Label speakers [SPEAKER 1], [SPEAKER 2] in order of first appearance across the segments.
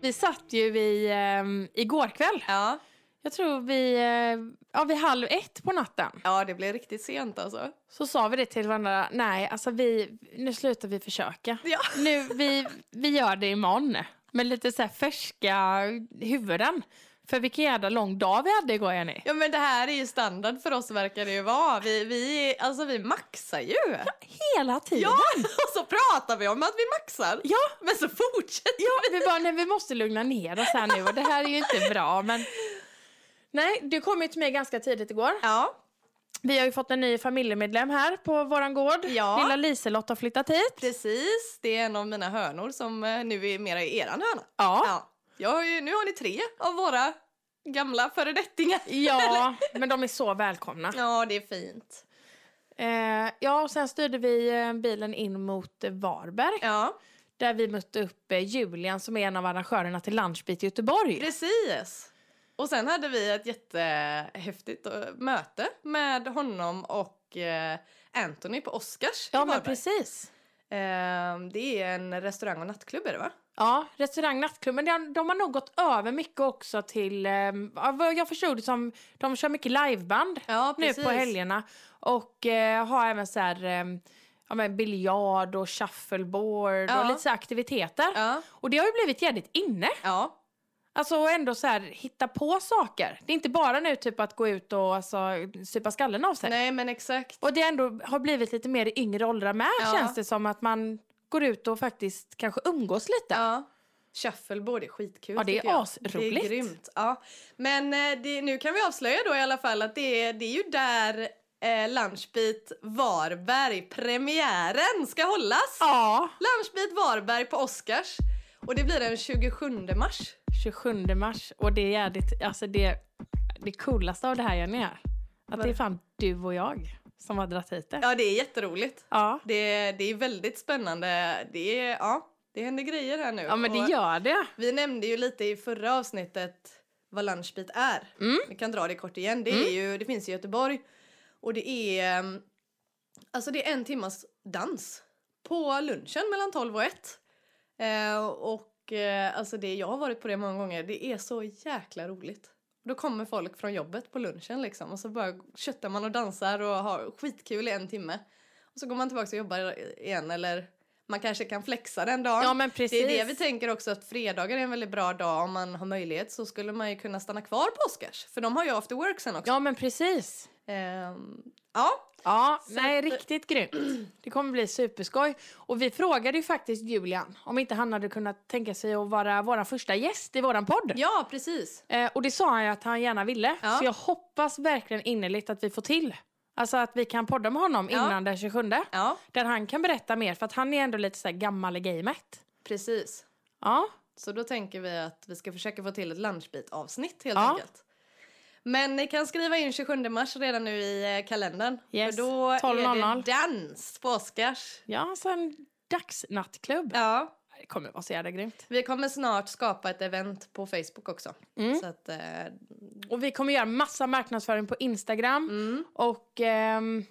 [SPEAKER 1] vi satt ju i, eh, igår kväll.
[SPEAKER 2] Ja.
[SPEAKER 1] Jag tror vi, eh, ja vid halv ett på natten.
[SPEAKER 2] ja, det blev riktigt sent alltså.
[SPEAKER 1] Så sa vi det till varandra, nej alltså vi, nu slutar vi försöka.
[SPEAKER 2] Ja.
[SPEAKER 1] Nu, vi, vi gör det imorgon. Med lite så här färska huvuden. För vilken jävla lång dag vi hade igår Jenny.
[SPEAKER 2] Ja men det här är ju standard för oss verkar det ju vara. Vi, vi, alltså, vi maxar ju.
[SPEAKER 1] Hela tiden.
[SPEAKER 2] Ja, och så pratar vi om att vi maxar.
[SPEAKER 1] Ja.
[SPEAKER 2] Men så fortsätter
[SPEAKER 1] Ja, vi bara, nej, vi måste lugna ner oss här nu och det här är ju inte bra. Men... Nej, du kom ju till mig ganska tidigt igår.
[SPEAKER 2] Ja,
[SPEAKER 1] Vi har ju fått en ny familjemedlem här på våran gård.
[SPEAKER 2] Ja.
[SPEAKER 1] Lilla Liselott har flyttat hit.
[SPEAKER 2] precis. Det är en av mina hönor som eh, nu är mera i eran hörna.
[SPEAKER 1] Ja.
[SPEAKER 2] Ja. Jag har ju, nu har ni tre av våra gamla föredettingar.
[SPEAKER 1] Ja, men de är så välkomna.
[SPEAKER 2] Ja, det är fint.
[SPEAKER 1] Eh, ja, och sen styrde vi eh, bilen in mot eh, Varberg.
[SPEAKER 2] Ja,
[SPEAKER 1] Där vi mötte upp eh, Julian som är en av arrangörerna till Lunchbeat i Göteborg.
[SPEAKER 2] precis. Och sen hade vi ett jättehäftigt eh, möte med honom och eh, Anthony på Oscars i
[SPEAKER 1] Ja, men
[SPEAKER 2] Varberg.
[SPEAKER 1] precis.
[SPEAKER 2] Ehm, det är en restaurang och nattklubb är det va?
[SPEAKER 1] Ja, restaurang Nattklubben, de, de har nog gått över mycket också till, eh, ja, vad jag förstod det som, de kör mycket liveband
[SPEAKER 2] Ja,
[SPEAKER 1] nu på helgerna. Och eh, har även så här, eh, ja men biljard och shuffleboard och
[SPEAKER 2] Ja.
[SPEAKER 1] lite så här aktiviteter.
[SPEAKER 2] Ja,
[SPEAKER 1] Och det har ju blivit jävligt inne.
[SPEAKER 2] ja,
[SPEAKER 1] Alltså och ändå så här hitta på saker. Det är inte bara nu typ att gå ut och alltså, supa skallen av sig.
[SPEAKER 2] nej men exakt.
[SPEAKER 1] Och det ändå har blivit lite mer i yngre åldrar med
[SPEAKER 2] Ja.
[SPEAKER 1] känns det som att man går ut och faktiskt kanske umgås lite.
[SPEAKER 2] Ja. Shuffleboard är skitkul.
[SPEAKER 1] Ja, det är
[SPEAKER 2] tycker jag. Det
[SPEAKER 1] asroligt.
[SPEAKER 2] är grymt. Ja. Men eh, det, nu kan vi avslöja då i alla fall att det är, det är ju där eh, Lunchbeat Varberg-premiären ska hållas.
[SPEAKER 1] ja.
[SPEAKER 2] Lunchbeat Varberg på Oscars. Och det blir den 27 mars.
[SPEAKER 1] 27 mars och det är jävligt, alltså det, det coolaste av det här Jenny är att det är fan du och jag som har dragit hit det.
[SPEAKER 2] Ja, det är jätteroligt.
[SPEAKER 1] Ja.
[SPEAKER 2] Det, det är väldigt spännande. Det, är, ja, det händer grejer här nu.
[SPEAKER 1] Ja men det
[SPEAKER 2] Och
[SPEAKER 1] gör det.
[SPEAKER 2] Vi nämnde ju lite i förra avsnittet vad Lunchbeat är.
[SPEAKER 1] Mm.
[SPEAKER 2] Vi kan dra det kort igen. Det, är ju, det finns i Göteborg. Och det är, ehm, alltså det är en timmas dans på lunchen mellan 12 och 1. Eh, och eh, alltså det, jag har varit på det många gånger. Det är så jäkla roligt. Då kommer folk från jobbet på lunchen liksom och så bara köttar man och dansar och har skitkul i en timme. Och så går man tillbaka och jobbar igen eller man kanske kan flexa den dagen.
[SPEAKER 1] Ja men precis.
[SPEAKER 2] Det är det vi tänker också att fredagar är en väldigt bra dag om man har möjlighet så skulle man ju kunna stanna kvar på Oscars för de har ju after work sen också.
[SPEAKER 1] Ja men precis.
[SPEAKER 2] Ehm, ja,
[SPEAKER 1] Ja,
[SPEAKER 2] Så
[SPEAKER 1] nej
[SPEAKER 2] att- eh,
[SPEAKER 1] riktigt grymt. Det kommer bli superskoj. Och vi frågade ju faktiskt Julian om inte han hade kunnat tänka sig att vara vår första gäst i våran podd.
[SPEAKER 2] ja precis.
[SPEAKER 1] Eh, och det sa han ju att han gärna ville.
[SPEAKER 2] Ja.
[SPEAKER 1] Så jag hoppas verkligen innerligt att vi får till. Alltså att vi kan podda med honom
[SPEAKER 2] Ja.
[SPEAKER 1] innan den 27.
[SPEAKER 2] Ja,
[SPEAKER 1] Där han kan berätta mer för att han är ändå lite så här gammal i gamet.
[SPEAKER 2] precis.
[SPEAKER 1] Ja,
[SPEAKER 2] Så då tänker vi att vi ska försöka få till ett lunchbit avsnitt helt
[SPEAKER 1] Ja.
[SPEAKER 2] enkelt. Men ni kan skriva in 27 mars redan nu i eh, kalendern.
[SPEAKER 1] Yes,
[SPEAKER 2] För då är
[SPEAKER 1] 12.00.
[SPEAKER 2] det dans på Oscars.
[SPEAKER 1] ja så en dagsnattklubb.
[SPEAKER 2] Ja,
[SPEAKER 1] Det kommer vara så jävla grymt.
[SPEAKER 2] vi kommer snart skapa ett event på Facebook också.
[SPEAKER 1] Mm.
[SPEAKER 2] Så att, eh,
[SPEAKER 1] Och vi kommer göra massa marknadsföring på Instagram.
[SPEAKER 2] mm,
[SPEAKER 1] Och ehm,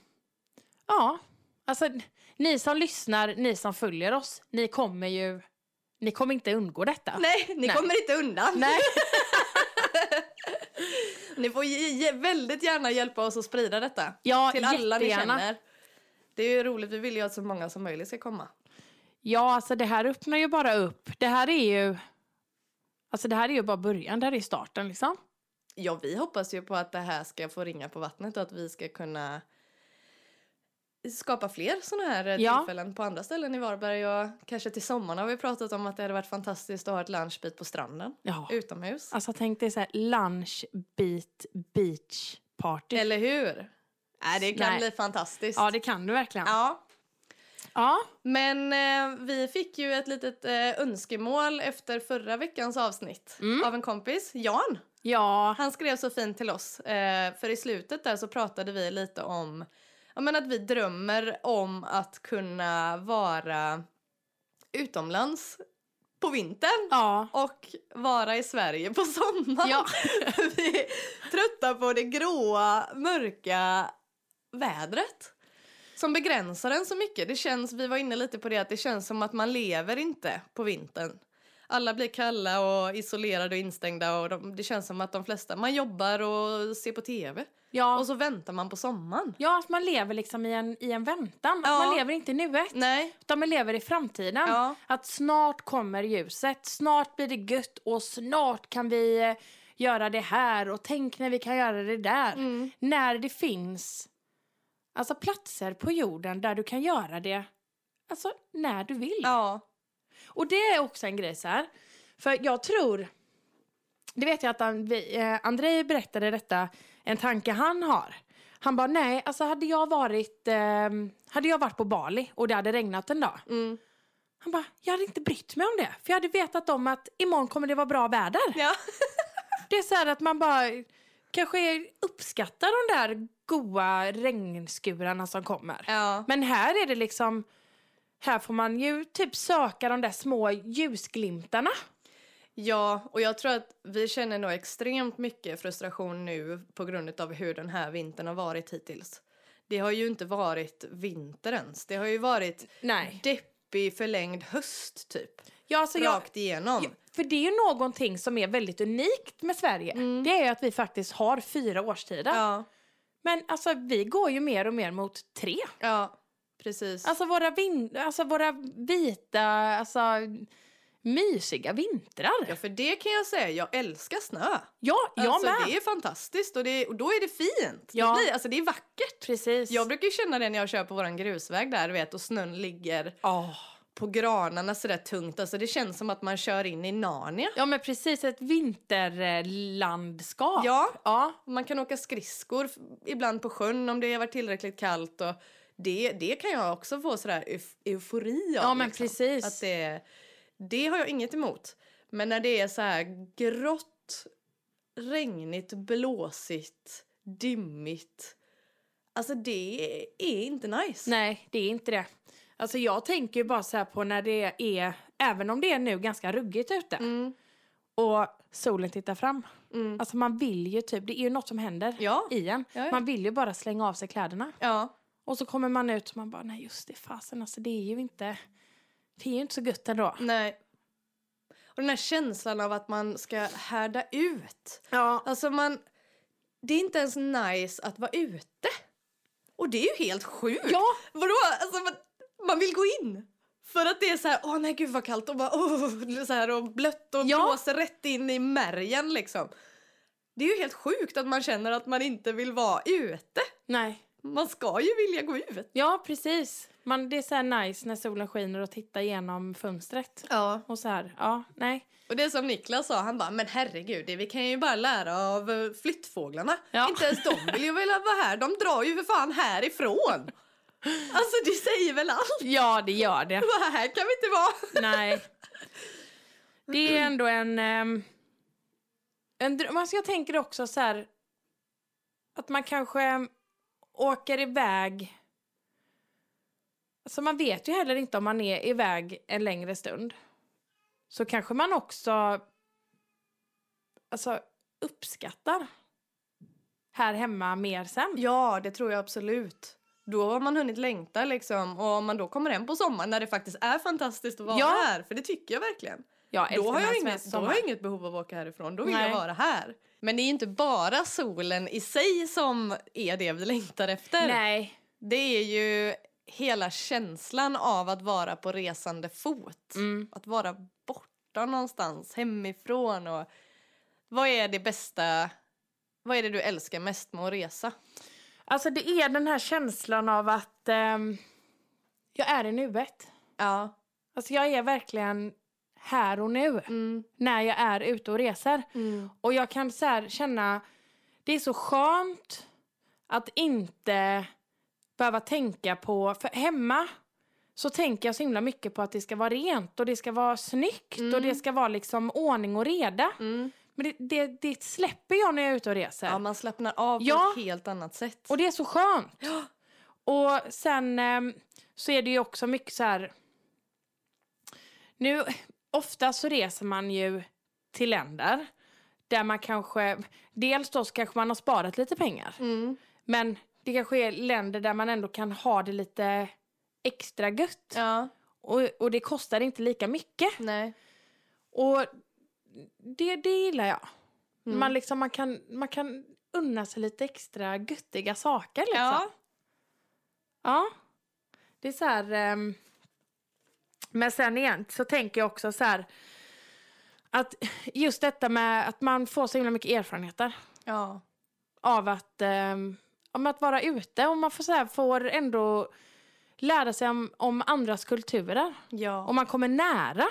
[SPEAKER 1] ja, alltså ni som lyssnar, ni som följer oss, ni kommer ju, ni kommer inte undgå detta.
[SPEAKER 2] Nej, ni
[SPEAKER 1] Nej.
[SPEAKER 2] kommer inte undan.
[SPEAKER 1] Nej.
[SPEAKER 2] Ni får ge, ge, väldigt gärna hjälpa oss att sprida detta.
[SPEAKER 1] Ja,
[SPEAKER 2] till alla ni
[SPEAKER 1] jättegärna.
[SPEAKER 2] känner. Det är ju roligt, vi vill ju att så många som möjligt ska komma.
[SPEAKER 1] Ja, alltså det här öppnar ju bara upp. Det här är ju, alltså det här är ju bara början, det här är starten liksom.
[SPEAKER 2] Ja, vi hoppas ju på att det här ska få ringa på vattnet och att vi ska kunna skapa fler sådana här eh,
[SPEAKER 1] Ja.
[SPEAKER 2] tillfällen på andra ställen i Varberg och kanske till sommaren har vi pratat om att det hade varit fantastiskt att ha ett lunchbit på stranden
[SPEAKER 1] Ja.
[SPEAKER 2] utomhus.
[SPEAKER 1] Alltså tänk dig så här lunch, beat, beach party.
[SPEAKER 2] Eller hur? Nej, det kan
[SPEAKER 1] Nej.
[SPEAKER 2] bli fantastiskt.
[SPEAKER 1] Ja, det kan du verkligen.
[SPEAKER 2] ja.
[SPEAKER 1] Ja,
[SPEAKER 2] Men eh, vi fick ju ett litet eh, önskemål efter förra veckans avsnitt
[SPEAKER 1] Mm.
[SPEAKER 2] av en kompis, Jan.
[SPEAKER 1] ja,
[SPEAKER 2] Han skrev så fint till oss, eh, för i slutet där så pratade vi lite om ja, men att vi drömmer om att kunna vara utomlands på vintern
[SPEAKER 1] ja.
[SPEAKER 2] och vara i Sverige på sommaren.
[SPEAKER 1] Ja.
[SPEAKER 2] vi är trötta på det gråa, mörka vädret som begränsar en så mycket. Det känns, vi var inne lite på det, att det känns som att man lever inte på vintern. alla blir kalla och isolerade och instängda och de, det känns som att de flesta, man jobbar och ser på tv
[SPEAKER 1] Ja,
[SPEAKER 2] och så väntar man på sommaren.
[SPEAKER 1] ja att man lever liksom i en, i en väntan.
[SPEAKER 2] Ja.
[SPEAKER 1] Att man lever inte i nuet,
[SPEAKER 2] Nej,
[SPEAKER 1] utan man lever i framtiden.
[SPEAKER 2] ja,
[SPEAKER 1] Att snart kommer ljuset, snart blir det gött och snart kan vi eh, göra det här och tänk när vi kan göra det där.
[SPEAKER 2] mm,
[SPEAKER 1] När det finns alltså platser på jorden där du kan göra det alltså när du vill.
[SPEAKER 2] ja,
[SPEAKER 1] Och det är också en grej så här. För jag tror, det vet jag att han, vi, eh, Andrei berättade detta, en tanke han har. Han bara nej, alltså hade jag varit, ehm, hade jag varit på Bali och det hade regnat en dag.
[SPEAKER 2] mm,
[SPEAKER 1] Han bara, jag hade inte brytt mig om det. För jag hade vetat om att imorgon kommer det vara bra väder.
[SPEAKER 2] ja,
[SPEAKER 1] Det är så här att man bara kanske uppskattar de där goa regnskurarna som kommer.
[SPEAKER 2] ja,
[SPEAKER 1] Men här är det liksom, här får man ju typ söka de där små ljusglimtarna.
[SPEAKER 2] ja, och jag tror att vi känner nog extremt mycket frustration nu på grund av hur den här vintern har varit hittills. Det har ju inte varit vinter ens, det har ju varit
[SPEAKER 1] Nej.
[SPEAKER 2] deppig förlängd höst typ,
[SPEAKER 1] Ja, alltså jag,
[SPEAKER 2] rakt igenom.
[SPEAKER 1] Ja, för det är ju någonting som är väldigt unikt med Sverige.
[SPEAKER 2] Mm.
[SPEAKER 1] Det är ju att vi faktiskt har fyra årstider.
[SPEAKER 2] Ja,
[SPEAKER 1] Men alltså vi går ju mer och mer mot tre.
[SPEAKER 2] ja, precis.
[SPEAKER 1] Alltså våra, vin- alltså våra vita, alltså mysiga vintrar.
[SPEAKER 2] Ja, för det kan jag säga, jag älskar snö.
[SPEAKER 1] Ja, jag
[SPEAKER 2] alltså,
[SPEAKER 1] med.
[SPEAKER 2] Det är fantastiskt och, det, och då är det fint.
[SPEAKER 1] Ja.
[SPEAKER 2] Det, blir, alltså, det är vackert.
[SPEAKER 1] Precis.
[SPEAKER 2] Jag brukar ju känna det när jag kör på våran grusväg där, du vet, och snön ligger
[SPEAKER 1] Åh.
[SPEAKER 2] på granarna sådär tungt. Alltså det känns som att man kör in i Narnia.
[SPEAKER 1] Ja men precis, ett vinterlandskap.
[SPEAKER 2] Ja.
[SPEAKER 1] ja.
[SPEAKER 2] Man kan åka skridskor f- ibland på sjön om det har varit tillräckligt kallt och det, det kan jag också få sådär euf- eufori av. liksom.
[SPEAKER 1] Ja, men precis.
[SPEAKER 2] Att det, det har jag inget emot. Men när det är så här grått, regnigt, blåsigt, dimmigt. Alltså det är inte nice.
[SPEAKER 1] Nej, det är inte det. Alltså jag tänker ju bara så här på när det är, även om det är nu ganska ruggigt ute
[SPEAKER 2] Mm,
[SPEAKER 1] och solen tittar fram.
[SPEAKER 2] mm.
[SPEAKER 1] Alltså man vill ju typ, det är ju något som händer
[SPEAKER 2] Ja.
[SPEAKER 1] i en.
[SPEAKER 2] Ja, ja.
[SPEAKER 1] Man vill ju bara slänga av sig kläderna.
[SPEAKER 2] ja.
[SPEAKER 1] Och så kommer man ut och man bara, nej just det, fasen alltså det är ju inte, det är ju inte så gött ändå.
[SPEAKER 2] Nej. Och den här känslan av att man ska härda ut.
[SPEAKER 1] Ja,
[SPEAKER 2] Alltså man... Det är inte ens nice att vara ute. Och det är ju helt sjukt.
[SPEAKER 1] ja
[SPEAKER 2] Vadå? Alltså man, man vill gå in. För att det är så här, åh nej gud vad kallt och bara åh, så här och blött och
[SPEAKER 1] Ja.
[SPEAKER 2] blåser rätt in i märgen liksom. Det är ju helt sjukt att man känner att man inte vill vara ute.
[SPEAKER 1] nej.
[SPEAKER 2] Man ska ju vilja gå ut.
[SPEAKER 1] Ja, precis. Man, det är så här nice när solen skiner och tittar genom fönstret.
[SPEAKER 2] Ja.
[SPEAKER 1] Och så här, ja, nej.
[SPEAKER 2] Och det är som Niklas sa, han bara men herregud, det- vi kan ju bara lära av eh, flyttfåglarna.
[SPEAKER 1] Ja.
[SPEAKER 2] Inte ens de vill ju vilja vara här, de drar ju för fan härifrån. Alltså det säger väl allt.
[SPEAKER 1] Ja, det gör det.
[SPEAKER 2] Bara här kan vi inte vara.
[SPEAKER 1] nej. Det är ändå en... ehm, en dröm. Alltså jag tänker också så här... Att man kanske åker iväg... Alltså man vet ju heller inte om man är iväg en längre stund. Så kanske man också... Alltså uppskattar här hemma mer sen.
[SPEAKER 2] Ja, det tror jag absolut. Då har man hunnit längta liksom och om man då kommer hem på sommaren när det faktiskt är fantastiskt att vara
[SPEAKER 1] Ja.
[SPEAKER 2] här, för det tycker jag verkligen.
[SPEAKER 1] Jag
[SPEAKER 2] Då
[SPEAKER 1] älskar
[SPEAKER 2] har,
[SPEAKER 1] den här
[SPEAKER 2] jag inget,
[SPEAKER 1] svenska
[SPEAKER 2] då har
[SPEAKER 1] sommaren.
[SPEAKER 2] jag inget behov av att åka härifrån, då vill
[SPEAKER 1] Nej.
[SPEAKER 2] jag vara här. Men det är ju inte bara solen i sig som är det vi längtar efter.
[SPEAKER 1] Nej.
[SPEAKER 2] Det är ju hela känslan av att vara på resande fot.
[SPEAKER 1] Mm.
[SPEAKER 2] Att vara borta någonstans, hemifrån och... Vad är det bästa... Vad är det du älskar mest med att resa?
[SPEAKER 1] Alltså det är den här känslan av att ehm, jag är i nuet.
[SPEAKER 2] Ja.
[SPEAKER 1] Alltså jag är verkligen här och nu
[SPEAKER 2] Mm.
[SPEAKER 1] när jag är ute och reser.
[SPEAKER 2] Mm.
[SPEAKER 1] Och jag kan så här känna, det är så skönt att inte behöva tänka på, för hemma så tänker jag så himla mycket på att det ska vara rent och det ska vara snyggt och
[SPEAKER 2] Mm.
[SPEAKER 1] det ska vara liksom ordning och reda.
[SPEAKER 2] Mm.
[SPEAKER 1] Men det, det, det släpper jag när jag är ute och reser.
[SPEAKER 2] Ja, man slappnar av på
[SPEAKER 1] Ja.
[SPEAKER 2] ett helt annat sätt.
[SPEAKER 1] Och det är så skönt. Och sen ehm, så är det ju också mycket så här... Nu, ofta så reser man ju till länder där man kanske... Dels då så kanske man har sparat lite pengar.
[SPEAKER 2] Mm.
[SPEAKER 1] Men det kanske är länder där man ändå kan ha det lite extra gött.
[SPEAKER 2] Ja,
[SPEAKER 1] Och, och det kostar inte lika mycket.
[SPEAKER 2] nej.
[SPEAKER 1] Och det, det gillar jag.
[SPEAKER 2] Mm.
[SPEAKER 1] Man, liksom, man, kan, man kan unna sig lite extra göttiga saker. Liksom.
[SPEAKER 2] Ja.
[SPEAKER 1] Ja. Det är så här... ehm, Men sen igen så tänker jag också så här... Att just detta med att man får så himla mycket erfarenheter
[SPEAKER 2] Ja.
[SPEAKER 1] av att, ehm, om att vara ute. Och man får, så här, får ändå lära sig om, om andras kulturer.
[SPEAKER 2] Ja.
[SPEAKER 1] Och man kommer nära.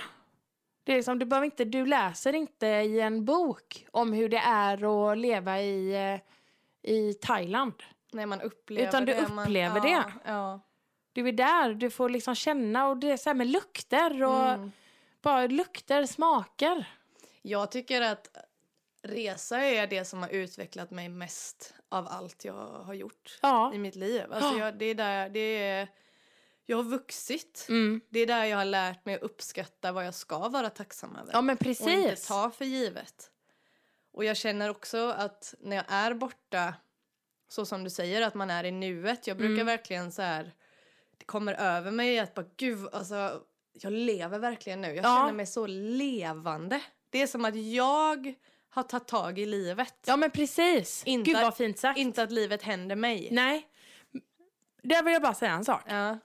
[SPEAKER 1] Det är liksom, du, behöver inte, du läser inte i en bok om hur det är att leva i, eh, i Thailand.
[SPEAKER 2] Nej, man upplever
[SPEAKER 1] Utan du
[SPEAKER 2] det.
[SPEAKER 1] upplever
[SPEAKER 2] man,
[SPEAKER 1] det.
[SPEAKER 2] Ja. ja.
[SPEAKER 1] Du är där, du får liksom känna och det är så här med lukter och
[SPEAKER 2] Mm.
[SPEAKER 1] bara lukter, smaker.
[SPEAKER 2] Jag tycker att resa är det som har utvecklat mig mest av allt jag har gjort
[SPEAKER 1] Ja.
[SPEAKER 2] i mitt liv.
[SPEAKER 1] Ja.
[SPEAKER 2] Alltså jag, det är där, det är, jag har vuxit.
[SPEAKER 1] Mm.
[SPEAKER 2] Det är där jag har lärt mig att uppskatta vad jag ska vara tacksam över.
[SPEAKER 1] Ja men
[SPEAKER 2] och inte
[SPEAKER 1] precis.
[SPEAKER 2] ta för givet. Och jag känner också att när jag är borta, så som du säger, att man är i nuet. Jag brukar
[SPEAKER 1] Mm.
[SPEAKER 2] verkligen så här, det kommer över mig att bara gud, alltså jag lever verkligen nu. Jag
[SPEAKER 1] Ja.
[SPEAKER 2] känner mig så levande. Det är som att jag har tagit tag i livet.
[SPEAKER 1] Ja men precis.
[SPEAKER 2] Inte-
[SPEAKER 1] Gud vad fint sagt.
[SPEAKER 2] Inte att livet händer mig.
[SPEAKER 1] Nej. Där vill jag bara säga en sak.
[SPEAKER 2] Ja.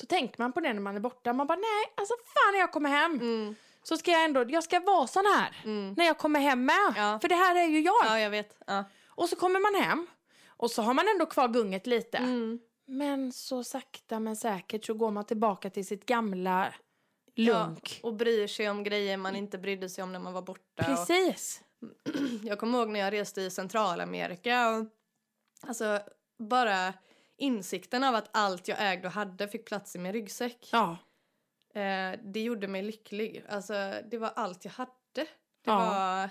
[SPEAKER 1] Så tänker man på det när man är borta. Man bara nej, alltså fan när jag kommer hem
[SPEAKER 2] Mm,
[SPEAKER 1] så ska jag ändå, jag ska vara sån här.
[SPEAKER 2] mm.
[SPEAKER 1] När jag kommer hem med.
[SPEAKER 2] Ja.
[SPEAKER 1] För det här är ju jag.
[SPEAKER 2] ja, jag vet. Ja.
[SPEAKER 1] Och så kommer man hem och så har man ändå kvar gunget lite.
[SPEAKER 2] Mm.
[SPEAKER 1] Men så sakta men säkert så går man tillbaka till sitt gamla lunk.
[SPEAKER 2] Ja, och bryr sig om grejer man inte brydde sig om när man var borta. Och
[SPEAKER 1] Precis.
[SPEAKER 2] Jag kommer ihåg när jag reste i Centralamerika och alltså bara insikten av att allt jag ägde och hade fick plats i min ryggsäck.
[SPEAKER 1] Ja.
[SPEAKER 2] Eh, det gjorde mig lycklig. Alltså det var allt jag hade. Det
[SPEAKER 1] Ja.
[SPEAKER 2] var...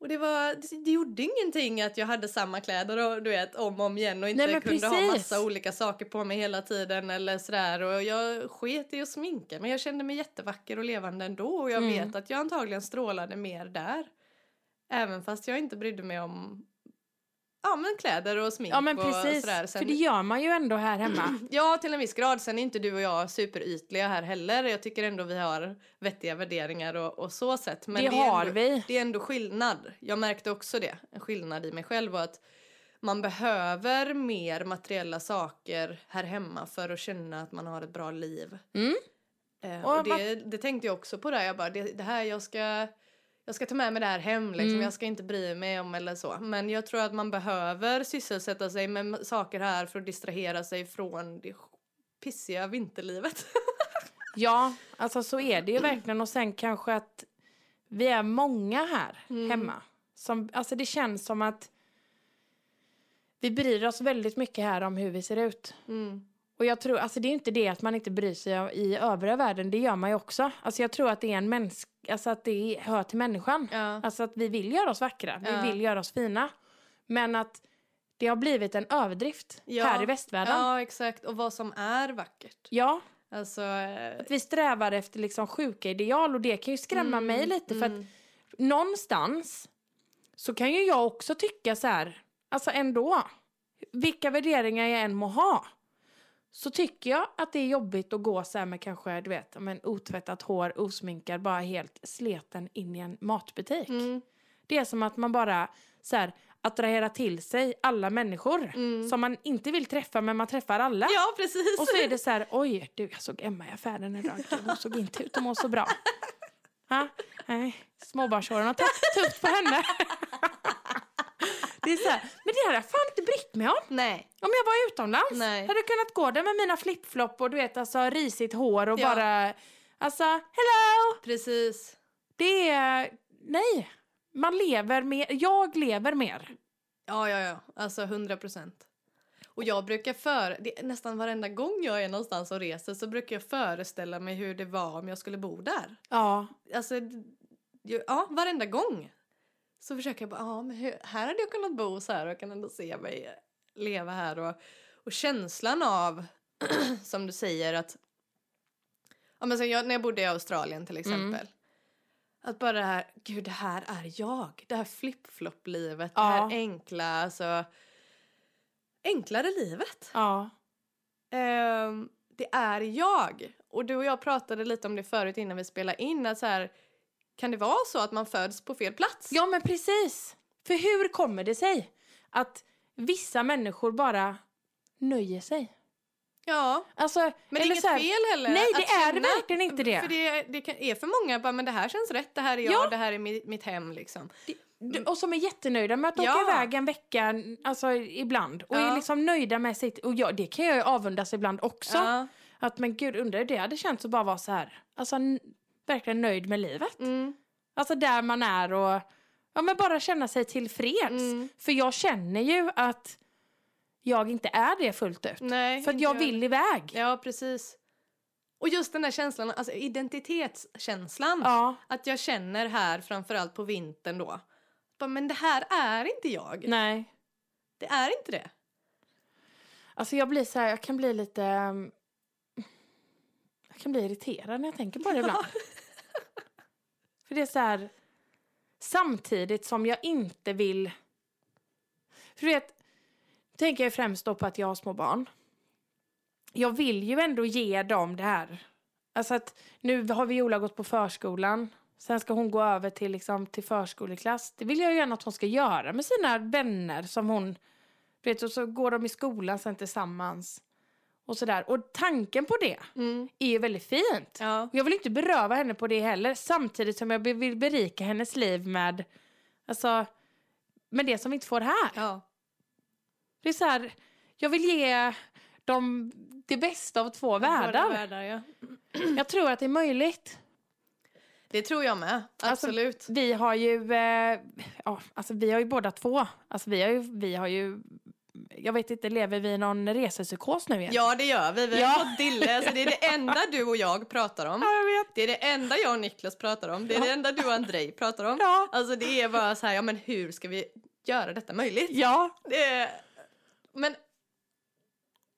[SPEAKER 2] Och det var, det, det gjorde ingenting att jag hade samma kläder och du vet om och om igen och inte
[SPEAKER 1] Nej, men
[SPEAKER 2] kunde ha
[SPEAKER 1] precis.
[SPEAKER 2] massa olika saker på mig hela tiden eller sådär och jag sket i att sminka men jag kände mig jättevacker och levande ändå och jag
[SPEAKER 1] Mm.
[SPEAKER 2] vet att jag antagligen strålade mer där. Även fast jag inte brydde mig om ja men kläder och smink
[SPEAKER 1] ja, men
[SPEAKER 2] och
[SPEAKER 1] precis.
[SPEAKER 2] sådär.
[SPEAKER 1] För det gör man ju ändå här hemma.
[SPEAKER 2] Ja, till en viss grad. Sen är inte du och jag superytliga här heller. Jag tycker ändå vi har vettiga värderingar och, och så sett. Men
[SPEAKER 1] det,
[SPEAKER 2] är
[SPEAKER 1] har
[SPEAKER 2] ändå,
[SPEAKER 1] vi.
[SPEAKER 2] Det är ändå skillnad. Jag märkte också det. En skillnad i mig själv och att man behöver mer materiella saker här hemma för att känna att man har ett bra liv.
[SPEAKER 1] Mm.
[SPEAKER 2] Eh,
[SPEAKER 1] Och
[SPEAKER 2] och det, det tänkte jag också på där. Jag bara, det, det här jag ska... Jag ska ta med mig det här hem, liksom.
[SPEAKER 1] Mm.
[SPEAKER 2] jag ska inte bry mig om eller så. Men jag tror att man behöver sysselsätta sig med m- saker här för att distrahera sig från det sk- pissiga vinterlivet.
[SPEAKER 1] Ja, alltså så är det ju verkligen. Och sen kanske att vi är många här
[SPEAKER 2] Mm.
[SPEAKER 1] hemma. Som, alltså det känns som att vi bryr oss väldigt mycket här om hur vi ser ut.
[SPEAKER 2] Mm.
[SPEAKER 1] Och jag tror, alltså det är inte det att man inte bryr sig om- i övriga världen, det gör man ju också. Alltså jag tror att det är en mänsk, alltså att det är- hör till människan.
[SPEAKER 2] Ja.
[SPEAKER 1] Alltså att vi vill göra oss vackra,
[SPEAKER 2] Ja.
[SPEAKER 1] vi vill göra oss fina. Men att det har blivit en överdrift
[SPEAKER 2] Ja.
[SPEAKER 1] här i västvärlden. Ja.
[SPEAKER 2] ja, exakt. Och vad som är vackert. Alltså, eh,
[SPEAKER 1] att vi strävar efter liksom sjuka ideal och det kan ju skrämma
[SPEAKER 2] Mm,
[SPEAKER 1] mig lite för
[SPEAKER 2] mm.
[SPEAKER 1] att någonstans så kan ju jag också tycka så här, alltså ändå, vilka värderingar jag än må ha, så tycker jag att det är jobbigt att gå så här med kanske, du vet, men otvättat hår, osminkad, bara helt sleten in i en matbutik.
[SPEAKER 2] Mm.
[SPEAKER 1] Det är som att man bara så här, attraherar till sig alla människor
[SPEAKER 2] Mm.
[SPEAKER 1] som man inte vill träffa, men man träffar alla.
[SPEAKER 2] Ja, precis.
[SPEAKER 1] Och så är det så här, oj, du, jag såg Emma i affären idag. Gud, Hon såg inte ut att må så bra. Ha? Nej, småbarnsåren har tagit tufft på henne. Det är så här, men det hade jag fan inte brytt mig om.
[SPEAKER 2] Nej.
[SPEAKER 1] Om jag var utomlands
[SPEAKER 2] Nej.
[SPEAKER 1] hade jag kunnat gå där med mina flipflop och du vet, alltså risigt hår och
[SPEAKER 2] Ja.
[SPEAKER 1] bara... Alltså, hello!
[SPEAKER 2] Precis.
[SPEAKER 1] Det är... Nej. Man lever mer. Jag lever mer.
[SPEAKER 2] Ja, ja, ja. Alltså 100 procent. Och jag brukar för... Det, är nästan varenda gång jag är någonstans och reser så brukar jag föreställa mig hur det var om jag skulle bo där.
[SPEAKER 1] Ja.
[SPEAKER 2] Alltså, d- ju- ja, varenda gång. Så försöker jag bara, ja, men hur, här hade jag kunnat bo så här och jag kan ändå se mig leva här. Och, och känslan av, som du säger, att... Ja, men sen jag, när jag bodde i Australien till exempel. Att bara det här, gud det här är jag. Det här flip-flop-livet, det här
[SPEAKER 1] Ja.
[SPEAKER 2] enkla, alltså... Enklare livet.
[SPEAKER 1] Ja.
[SPEAKER 2] Ehm, det är jag. Och du och jag pratade lite om det förut innan vi spelade in. Att så här, kan det vara så att man föds på fel plats?
[SPEAKER 1] Ja, men precis. För hur kommer det sig att vissa människor bara nöjer sig?
[SPEAKER 2] Ja.
[SPEAKER 1] Alltså,
[SPEAKER 2] Men det är
[SPEAKER 1] eller
[SPEAKER 2] inget
[SPEAKER 1] så här,
[SPEAKER 2] fel heller.
[SPEAKER 1] Nej,
[SPEAKER 2] att
[SPEAKER 1] det är
[SPEAKER 2] känna-
[SPEAKER 1] verkligen inte det.
[SPEAKER 2] För det, det kan, är för många bara, men det här känns rätt, det här är jag,
[SPEAKER 1] Ja.
[SPEAKER 2] det här är mitt, mitt hem liksom.
[SPEAKER 1] Du- Och som är jättenöjda med att åka
[SPEAKER 2] Ja.
[SPEAKER 1] iväg en vecka, alltså ibland. Och
[SPEAKER 2] Ja.
[SPEAKER 1] är liksom nöjda med sitt. Och ja, det kan jag ju avundas ibland också.
[SPEAKER 2] Ja.
[SPEAKER 1] Att men gud, undrar hur det hade känts att bara vara så här. Alltså n- verkligen nöjd med livet.
[SPEAKER 2] Mm.
[SPEAKER 1] Alltså där man är och ja, men bara känna sig tillfreds.
[SPEAKER 2] Mm.
[SPEAKER 1] För jag känner ju att jag inte är det fullt ut.
[SPEAKER 2] Nej,
[SPEAKER 1] för att
[SPEAKER 2] inte
[SPEAKER 1] jag vill iväg. Ja.
[SPEAKER 2] Mm. Ja, precis. Och just den där känslan, alltså identitetskänslan. Att jag känner här, framförallt på vintern då. Bara, men det här är inte jag.
[SPEAKER 1] nej.
[SPEAKER 2] Det är inte det.
[SPEAKER 1] Alltså jag blir så här, jag kan bli lite... um, Jag kan bli irriterad när jag tänker på det ibland. För det är så här... Samtidigt som jag inte vill... För du vet, tänker jag främst då på att jag har små barn. Jag vill ju ändå ge dem det här. Alltså att nu har Viola gått på förskolan. Sen ska hon gå över till, liksom, till förskoleklass. Det vill jag ju gärna att hon ska göra med sina vänner som hon... Du vet, och så går de i skolan sen tillsammans. Och sådär. Och tanken på det
[SPEAKER 2] Mm.
[SPEAKER 1] är ju väldigt fint.
[SPEAKER 2] Ja.
[SPEAKER 1] Och Jag vill inte beröva henne på det heller samtidigt som jag be- vill berika hennes liv med, alltså, med det som vi inte får här.
[SPEAKER 2] ja.
[SPEAKER 1] Det är så här, jag vill ge dem det bästa av två
[SPEAKER 2] Båda
[SPEAKER 1] världar.
[SPEAKER 2] Världar, ja.
[SPEAKER 1] Jag tror att det är möjligt.
[SPEAKER 2] Det tror jag med.
[SPEAKER 1] Alltså,
[SPEAKER 2] Absolut.
[SPEAKER 1] Vi har ju, eh, ja, alltså vi har ju båda två. Alltså vi har ju, vi har ju, jag vet inte, lever vi i någon resepsykos nu igen?
[SPEAKER 2] ja, det gör vi. Vi har
[SPEAKER 1] Ja.
[SPEAKER 2] fått dille. Alltså, det är det enda du och jag pratar om.
[SPEAKER 1] jag vet.
[SPEAKER 2] Det är det enda jag och Niklas pratar om. Det är det enda du och Andrej pratar om.
[SPEAKER 1] Ja.
[SPEAKER 2] Alltså det är bara så här, ja men hur ska vi göra detta möjligt?
[SPEAKER 1] Ja,
[SPEAKER 2] Det är, men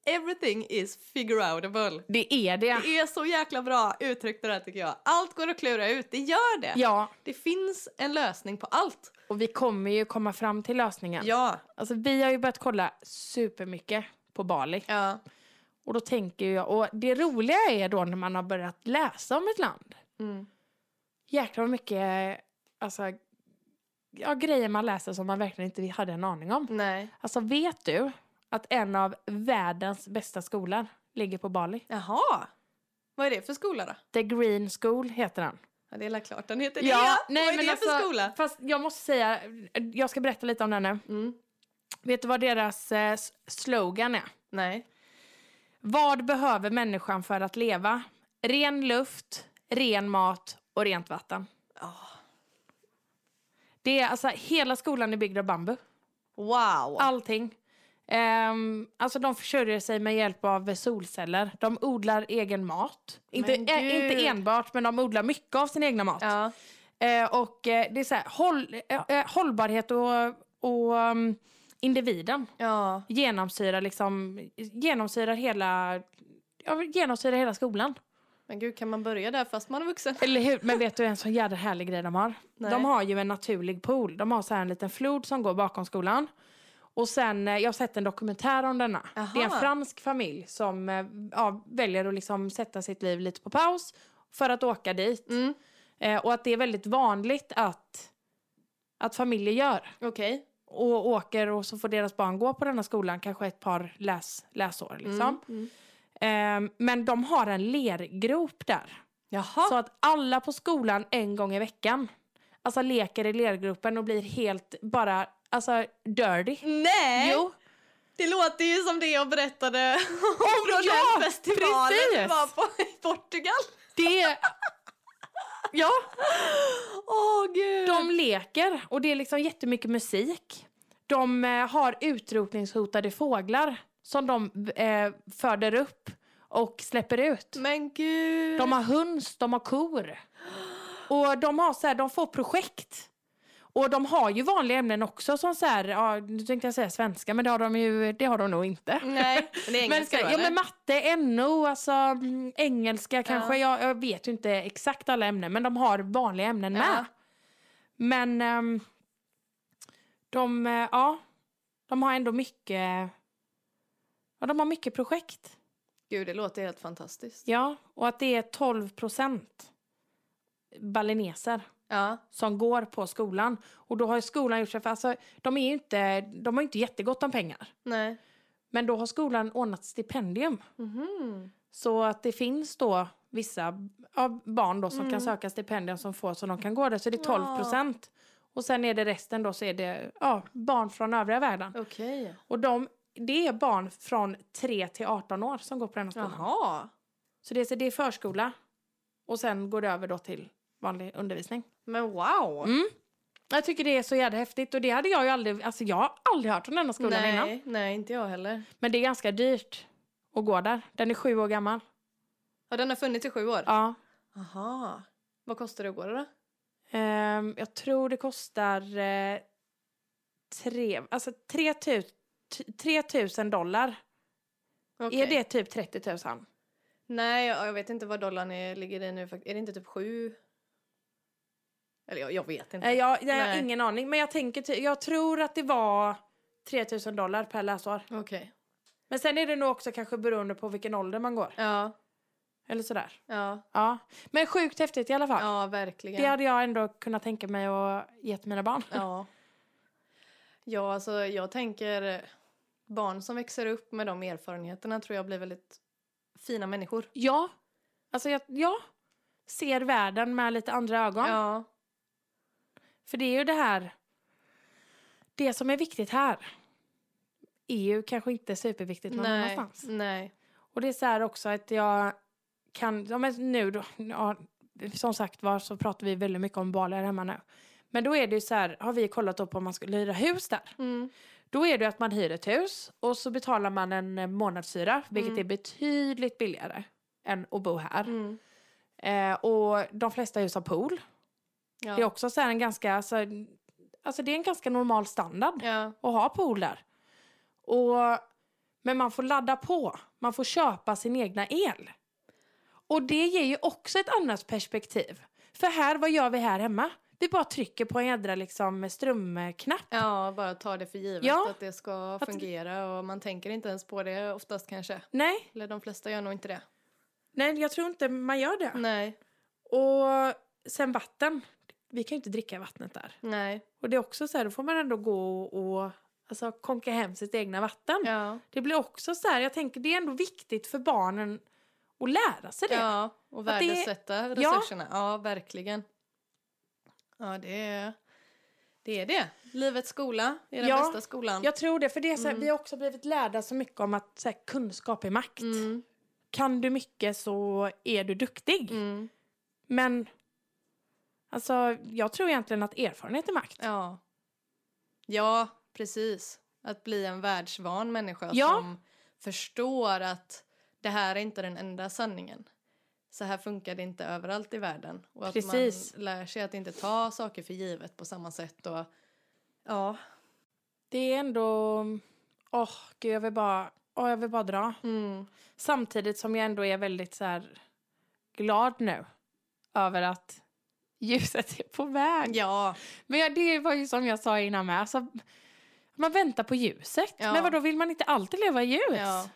[SPEAKER 2] everything is figure outable.
[SPEAKER 1] det är det.
[SPEAKER 2] Det är så jäkla bra uttryckt det där tycker jag. Allt går att klura ut, det gör det.
[SPEAKER 1] Ja,
[SPEAKER 2] Det finns en lösning på allt.
[SPEAKER 1] och vi kommer ju komma fram till lösningen.
[SPEAKER 2] Ja.
[SPEAKER 1] Alltså vi har ju börjat kolla supermycket på Bali.
[SPEAKER 2] Ja.
[SPEAKER 1] Och då tänker jag, och det roliga är då när man har börjat läsa om ett land.
[SPEAKER 2] Mm.
[SPEAKER 1] Jäklar vad mycket, alltså, ja, grejer man läser som man verkligen inte hade en aning om.
[SPEAKER 2] Nej.
[SPEAKER 1] Alltså vet du att en av världens bästa skolor ligger på Bali?
[SPEAKER 2] Jaha. Vad är det för skola då?
[SPEAKER 1] The Green School heter den.
[SPEAKER 2] Ja, det är väl klart den heter
[SPEAKER 1] Ja,
[SPEAKER 2] det.
[SPEAKER 1] nej,
[SPEAKER 2] Vad är
[SPEAKER 1] men
[SPEAKER 2] det för
[SPEAKER 1] alltså-
[SPEAKER 2] skola?
[SPEAKER 1] Fast jag måste säga, jag ska berätta lite om den nu.
[SPEAKER 2] Mm.
[SPEAKER 1] Vet du vad deras eh, s- slogan är?
[SPEAKER 2] Nej.
[SPEAKER 1] Vad behöver människan för att leva? Ren luft, ren mat och rent vatten.
[SPEAKER 2] Ah.
[SPEAKER 1] Det är alltså, hela skolan är byggd av bambu.
[SPEAKER 2] Wow.
[SPEAKER 1] Allting. Ehm, alltså de försörjer sig med hjälp av solceller. De odlar egen mat. Inte,
[SPEAKER 2] Men
[SPEAKER 1] ä- inte
[SPEAKER 2] gud.
[SPEAKER 1] enbart, men de odlar mycket av sin egna mat.
[SPEAKER 2] Ja.
[SPEAKER 1] Eh, och eh, det är så här, håll, eh, eh, hållbarhet och, och um, individen
[SPEAKER 2] Ja.
[SPEAKER 1] genomsyrar liksom, genomsyrar hela, ja, genomsyrar hela skolan.
[SPEAKER 2] Men gud, kan man börja där fast man är vuxen?
[SPEAKER 1] Eller hur? Men vet du en sån jädra härlig grej de har?
[SPEAKER 2] Nej.
[SPEAKER 1] De har ju en naturlig pool. De har så här en liten flod som går bakom skolan. Och sen, eh, jag har sett en dokumentär om denna.
[SPEAKER 2] Aha.
[SPEAKER 1] Det är en fransk familj som eh, ja, väljer att liksom sätta sitt liv lite på paus för att åka dit.
[SPEAKER 2] Mm.
[SPEAKER 1] Eh, och att det är väldigt vanligt att, att familjer gör.
[SPEAKER 2] Okej.
[SPEAKER 1] Och åker och så får deras barn gå på denna skolan kanske ett par läs, läsår. Liksom.
[SPEAKER 2] Mm. Mm.
[SPEAKER 1] Eh, men de har en lergrop där.
[SPEAKER 2] Jaha.
[SPEAKER 1] Så att alla på skolan en gång i veckan alltså leker i lergruppen och blir helt bara alltså dirty.
[SPEAKER 2] Nej!
[SPEAKER 1] Jo,
[SPEAKER 2] Det låter ju som det jag berättade om från
[SPEAKER 1] ja,
[SPEAKER 2] den festivalen vi
[SPEAKER 1] precis.
[SPEAKER 2] var på i Portugal.
[SPEAKER 1] det är... Ja,
[SPEAKER 2] Åh gud!
[SPEAKER 1] de leker och det är liksom jättemycket musik. De eh, har utrotningshotade fåglar som de eh, föder upp och släpper ut.
[SPEAKER 2] Men gud!
[SPEAKER 1] De har höns, de har kor. Och de har så här, de får projekt. Och de har ju vanliga ämnen också som så här, ja, nu tänkte jag säga svenska men det har de ju, det har de nog inte.
[SPEAKER 2] Nej, men det är
[SPEAKER 1] Men, så,
[SPEAKER 2] Mm, engelska
[SPEAKER 1] här, ja,
[SPEAKER 2] då,
[SPEAKER 1] men matte, NO, alltså mm, engelska kanske. Jag, jag vet ju inte exakt alla ämnen men de har vanliga ämnen
[SPEAKER 2] Ja.
[SPEAKER 1] med. Men ehm, de, eh, ja, de har ändå mycket, ja, de har mycket projekt.
[SPEAKER 2] Gud, det låter helt fantastiskt.
[SPEAKER 1] Ja, och att det är 12 procent balineser
[SPEAKER 2] Ja.
[SPEAKER 1] som går på skolan. Och då har ju skolan gjort sig för, alltså, de, är ju inte, de har ju inte jättegott om pengar.
[SPEAKER 2] Nej.
[SPEAKER 1] Men då har skolan ordnat stipendium.
[SPEAKER 2] Mhm.
[SPEAKER 1] Så att det finns då vissa ja, barn då som kan söka stipendium som får så de kan gå där. Så det är 12 procent. Och sen är det resten då så är det ja, barn från övriga världen.
[SPEAKER 2] Okej.
[SPEAKER 1] Och de, det är barn från 3 till 18 år som går på denna skolan.
[SPEAKER 2] Jaha.
[SPEAKER 1] Så det är, så det är förskola och sen går det över då till vanlig undervisning.
[SPEAKER 2] Men wow.
[SPEAKER 1] Mm. Jag tycker det är så jävla häftigt och det hade jag ju aldrig, alltså jag har aldrig hört om denna skolan innan.
[SPEAKER 2] Nej, nej, inte jag heller.
[SPEAKER 1] Men det är ganska dyrt att gå där. Den är sju år gammal.
[SPEAKER 2] Ja, den har funnits i sju år?
[SPEAKER 1] Ja.
[SPEAKER 2] Aha. Vad kostar det att gå där då?
[SPEAKER 1] Ehm, jag tror det kostar eh, tre, alltså 3 000, 3 000 dollar.
[SPEAKER 2] Okej. Mm.
[SPEAKER 1] Är det typ 30 000?
[SPEAKER 2] Nej, jag, jag vet inte vad dollarn är, ligger i nu. fakt- Är det inte typ sju? Eller jag, jag vet inte.
[SPEAKER 1] Eh, jag, jag har
[SPEAKER 2] Nej.
[SPEAKER 1] ingen aning, men jag, tänker, ty- jag tror att det var 3 000 dollar per läsår.
[SPEAKER 2] Okej.
[SPEAKER 1] Men sen är det nog också kanske beroende på vilken ålder man går.
[SPEAKER 2] Ja,
[SPEAKER 1] Eller sådär.
[SPEAKER 2] ja,
[SPEAKER 1] Ja. Men sjukt häftigt i alla fall.
[SPEAKER 2] ja,
[SPEAKER 1] Det
[SPEAKER 2] verkligen.
[SPEAKER 1] hade jag ändå kunnat tänka mig att ge till mina barn.
[SPEAKER 2] Ja. ja, alltså jag tänker eh, barn som växer upp med de erfarenheterna tror jag blir väldigt fina människor.
[SPEAKER 1] Ja. Alltså jag ja. ser världen med lite andra ögon.
[SPEAKER 2] Ja,
[SPEAKER 1] För det är ju det här. Det som är viktigt här är ju kanske inte superviktigt någon
[SPEAKER 2] nej,
[SPEAKER 1] annanstans.
[SPEAKER 2] nej.
[SPEAKER 1] Och det är så här också att jag kan, ja men nu då, ja, som sagt var så pratar vi väldigt mycket om Bali här hemma nu. Men då är det ju så här, har vi kollat upp om man skulle hyra hus där.
[SPEAKER 2] Mm.
[SPEAKER 1] Då är det ju att man hyr ett hus och så betalar man en eh, månadshyra, vilket
[SPEAKER 2] Mm.
[SPEAKER 1] är betydligt billigare än att bo här.
[SPEAKER 2] Mm.
[SPEAKER 1] Eh, och de flesta hus har pool.
[SPEAKER 2] Ja.
[SPEAKER 1] Det är också så här en ganska, alltså, alltså det är en ganska normal standard
[SPEAKER 2] ja,
[SPEAKER 1] och ha pooler. Och, men man får ladda på. Man får köpa sin egna el. Och det ger ju också ett annat perspektiv. För här, vad gör vi här hemma? Vi bara trycker på en jädra liksom, strömknapp.
[SPEAKER 2] ja, bara ta det för givet
[SPEAKER 1] Ja.
[SPEAKER 2] att det ska
[SPEAKER 1] det-
[SPEAKER 2] fungera och man tänker inte ens på det oftast kanske.
[SPEAKER 1] Nej,
[SPEAKER 2] Eller de flesta gör nog inte det.
[SPEAKER 1] nej, jag tror inte man gör det.
[SPEAKER 2] Nej,
[SPEAKER 1] Och sen vatten. Vi kan ju inte dricka vattnet där.
[SPEAKER 2] nej,
[SPEAKER 1] Och det är också så här, då får man ändå gå och alltså, konka hem sitt egna vatten.
[SPEAKER 2] ja.
[SPEAKER 1] Det blir också så här, jag tänker det är ändå viktigt för barnen att lära sig det.
[SPEAKER 2] Ja, och
[SPEAKER 1] Att det-
[SPEAKER 2] värdesätta
[SPEAKER 1] Ja.
[SPEAKER 2] resurserna. Ja. verkligen. Ja, det är det. Är det. Livets skola är den
[SPEAKER 1] Ja.
[SPEAKER 2] bästa skolan.
[SPEAKER 1] Jag tror det, för det är så här,
[SPEAKER 2] Mm.
[SPEAKER 1] vi har också blivit lärda så mycket om att så här, kunskap är makt.
[SPEAKER 2] Mm,
[SPEAKER 1] Kan du mycket så är du duktig.
[SPEAKER 2] mm,
[SPEAKER 1] Men alltså, jag tror egentligen att erfarenhet är makt.
[SPEAKER 2] ja. ja, precis. Att bli en världsvan människa
[SPEAKER 1] Ja.
[SPEAKER 2] som förstår att det här är inte den enda sanningen. Så här funkar det inte överallt i världen. Och att
[SPEAKER 1] Precis.
[SPEAKER 2] man lär sig att inte ta saker för givet på samma sätt. Och, ja.
[SPEAKER 1] Det är ändå... Åh, gud, jag vill bara... Åh, jag vill bara dra.
[SPEAKER 2] Mm.
[SPEAKER 1] Samtidigt som jag ändå är väldigt så här, glad nu över att ljuset är på väg.
[SPEAKER 2] Ja,
[SPEAKER 1] Men ja, det var ju som jag sa innan med. Alltså, man väntar på ljuset.
[SPEAKER 2] Ja.
[SPEAKER 1] Men vadå, vill man inte alltid leva i ljus?
[SPEAKER 2] ja.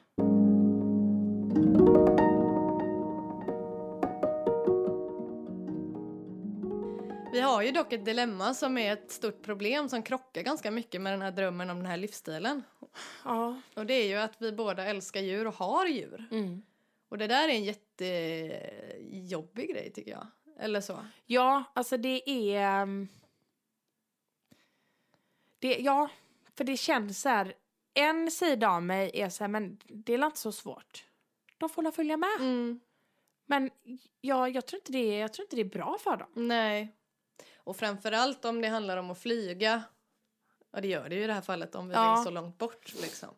[SPEAKER 2] Vi har ju dock ett dilemma som är ett stort problem som krockar ganska mycket med den här drömmen om den här livsstilen.
[SPEAKER 1] ja.
[SPEAKER 2] Och det är ju att vi båda älskar djur och har djur.
[SPEAKER 1] Mm.
[SPEAKER 2] Och det där är en jättejobbig grej tycker jag. Eller så.
[SPEAKER 1] Ja, alltså det är... ehm, Det, ja, för det känns så här... En sida av mig är så här, men det är väl inte så svårt. De får väl följa med.
[SPEAKER 2] Mm.
[SPEAKER 1] Men ja, jag, tror inte det är, jag tror inte det är bra för dem.
[SPEAKER 2] Nej. Och framförallt om det handlar om att flyga. Och det gör det ju i det här fallet om vi
[SPEAKER 1] Ja.
[SPEAKER 2] vill så långt bort liksom.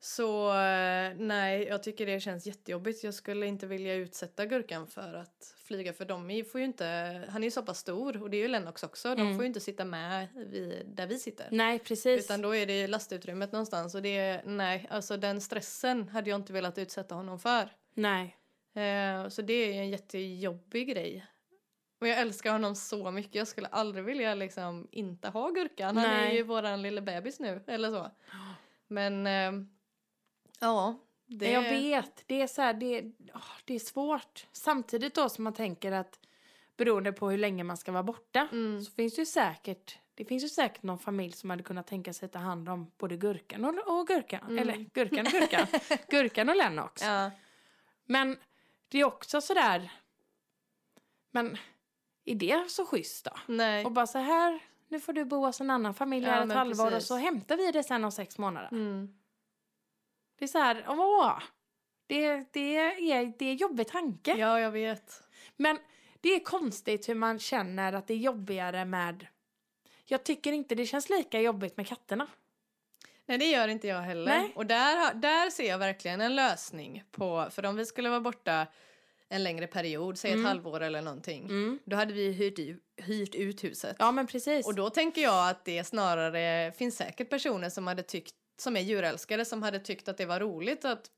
[SPEAKER 2] Så eh, nej, jag tycker det känns jättejobbigt. Jag skulle inte vilja utsätta Gurkan för att flyga för de är- får ju inte, han är ju så pass stor och det är ju Lennox också. De
[SPEAKER 1] Mm.
[SPEAKER 2] får ju inte sitta med vi, där vi sitter.
[SPEAKER 1] Nej, precis.
[SPEAKER 2] Utan då är det ju lastutrymmet någonstans och det är, nej, alltså den stressen hade jag inte velat utsätta honom för.
[SPEAKER 1] Nej.
[SPEAKER 2] Eh, så det är ju en jättejobbig grej. Men jag älskar honom så mycket. Jag skulle aldrig vilja liksom inte ha Gurkan. Han är
[SPEAKER 1] Nej.
[SPEAKER 2] ju våran lilla bebis nu, eller så. Men eh, ehm, ja, Det-
[SPEAKER 1] Jag vet, det är så här, det, åh, det är svårt. Samtidigt då som man tänker att beroende på hur länge man ska vara borta
[SPEAKER 2] Mm.
[SPEAKER 1] så finns det ju säkert det finns ju säkert någon familj som hade kunnat tänka sig ta hand om både gurkan och, och gurkan.
[SPEAKER 2] Mm.
[SPEAKER 1] Eller gurkan och gurkan. gurkan och Lennox.
[SPEAKER 2] Ja.
[SPEAKER 1] Men det är också sådär... Men är det så schysst då?
[SPEAKER 2] Nej.
[SPEAKER 1] Och bara så här, nu får du bo hos en annan familj
[SPEAKER 2] Ja,
[SPEAKER 1] här ett
[SPEAKER 2] men
[SPEAKER 1] halvår
[SPEAKER 2] precis.
[SPEAKER 1] och så hämtar vi det sen om sex månader.
[SPEAKER 2] Mm.
[SPEAKER 1] Det är så här, åh! Det, det, är, det är jobbig tanke.
[SPEAKER 2] Ja, jag vet.
[SPEAKER 1] Men det är konstigt hur man känner att det är jobbigare med... Jag tycker inte det känns lika jobbigt med katterna.
[SPEAKER 2] Nej, det gör inte jag heller.
[SPEAKER 1] Nej.
[SPEAKER 2] Och där, har- där ser jag verkligen en lösning på, för om vi skulle vara borta en längre period, säg ett
[SPEAKER 1] Mm.
[SPEAKER 2] halvår eller någonting, då hade vi hyrt, i- hyrt ut huset.
[SPEAKER 1] Ja, men precis.
[SPEAKER 2] Mm. Och då tänker jag att det snarare finns säkert personer som hade tyckt som är djurälskare som hade tyckt att det var roligt att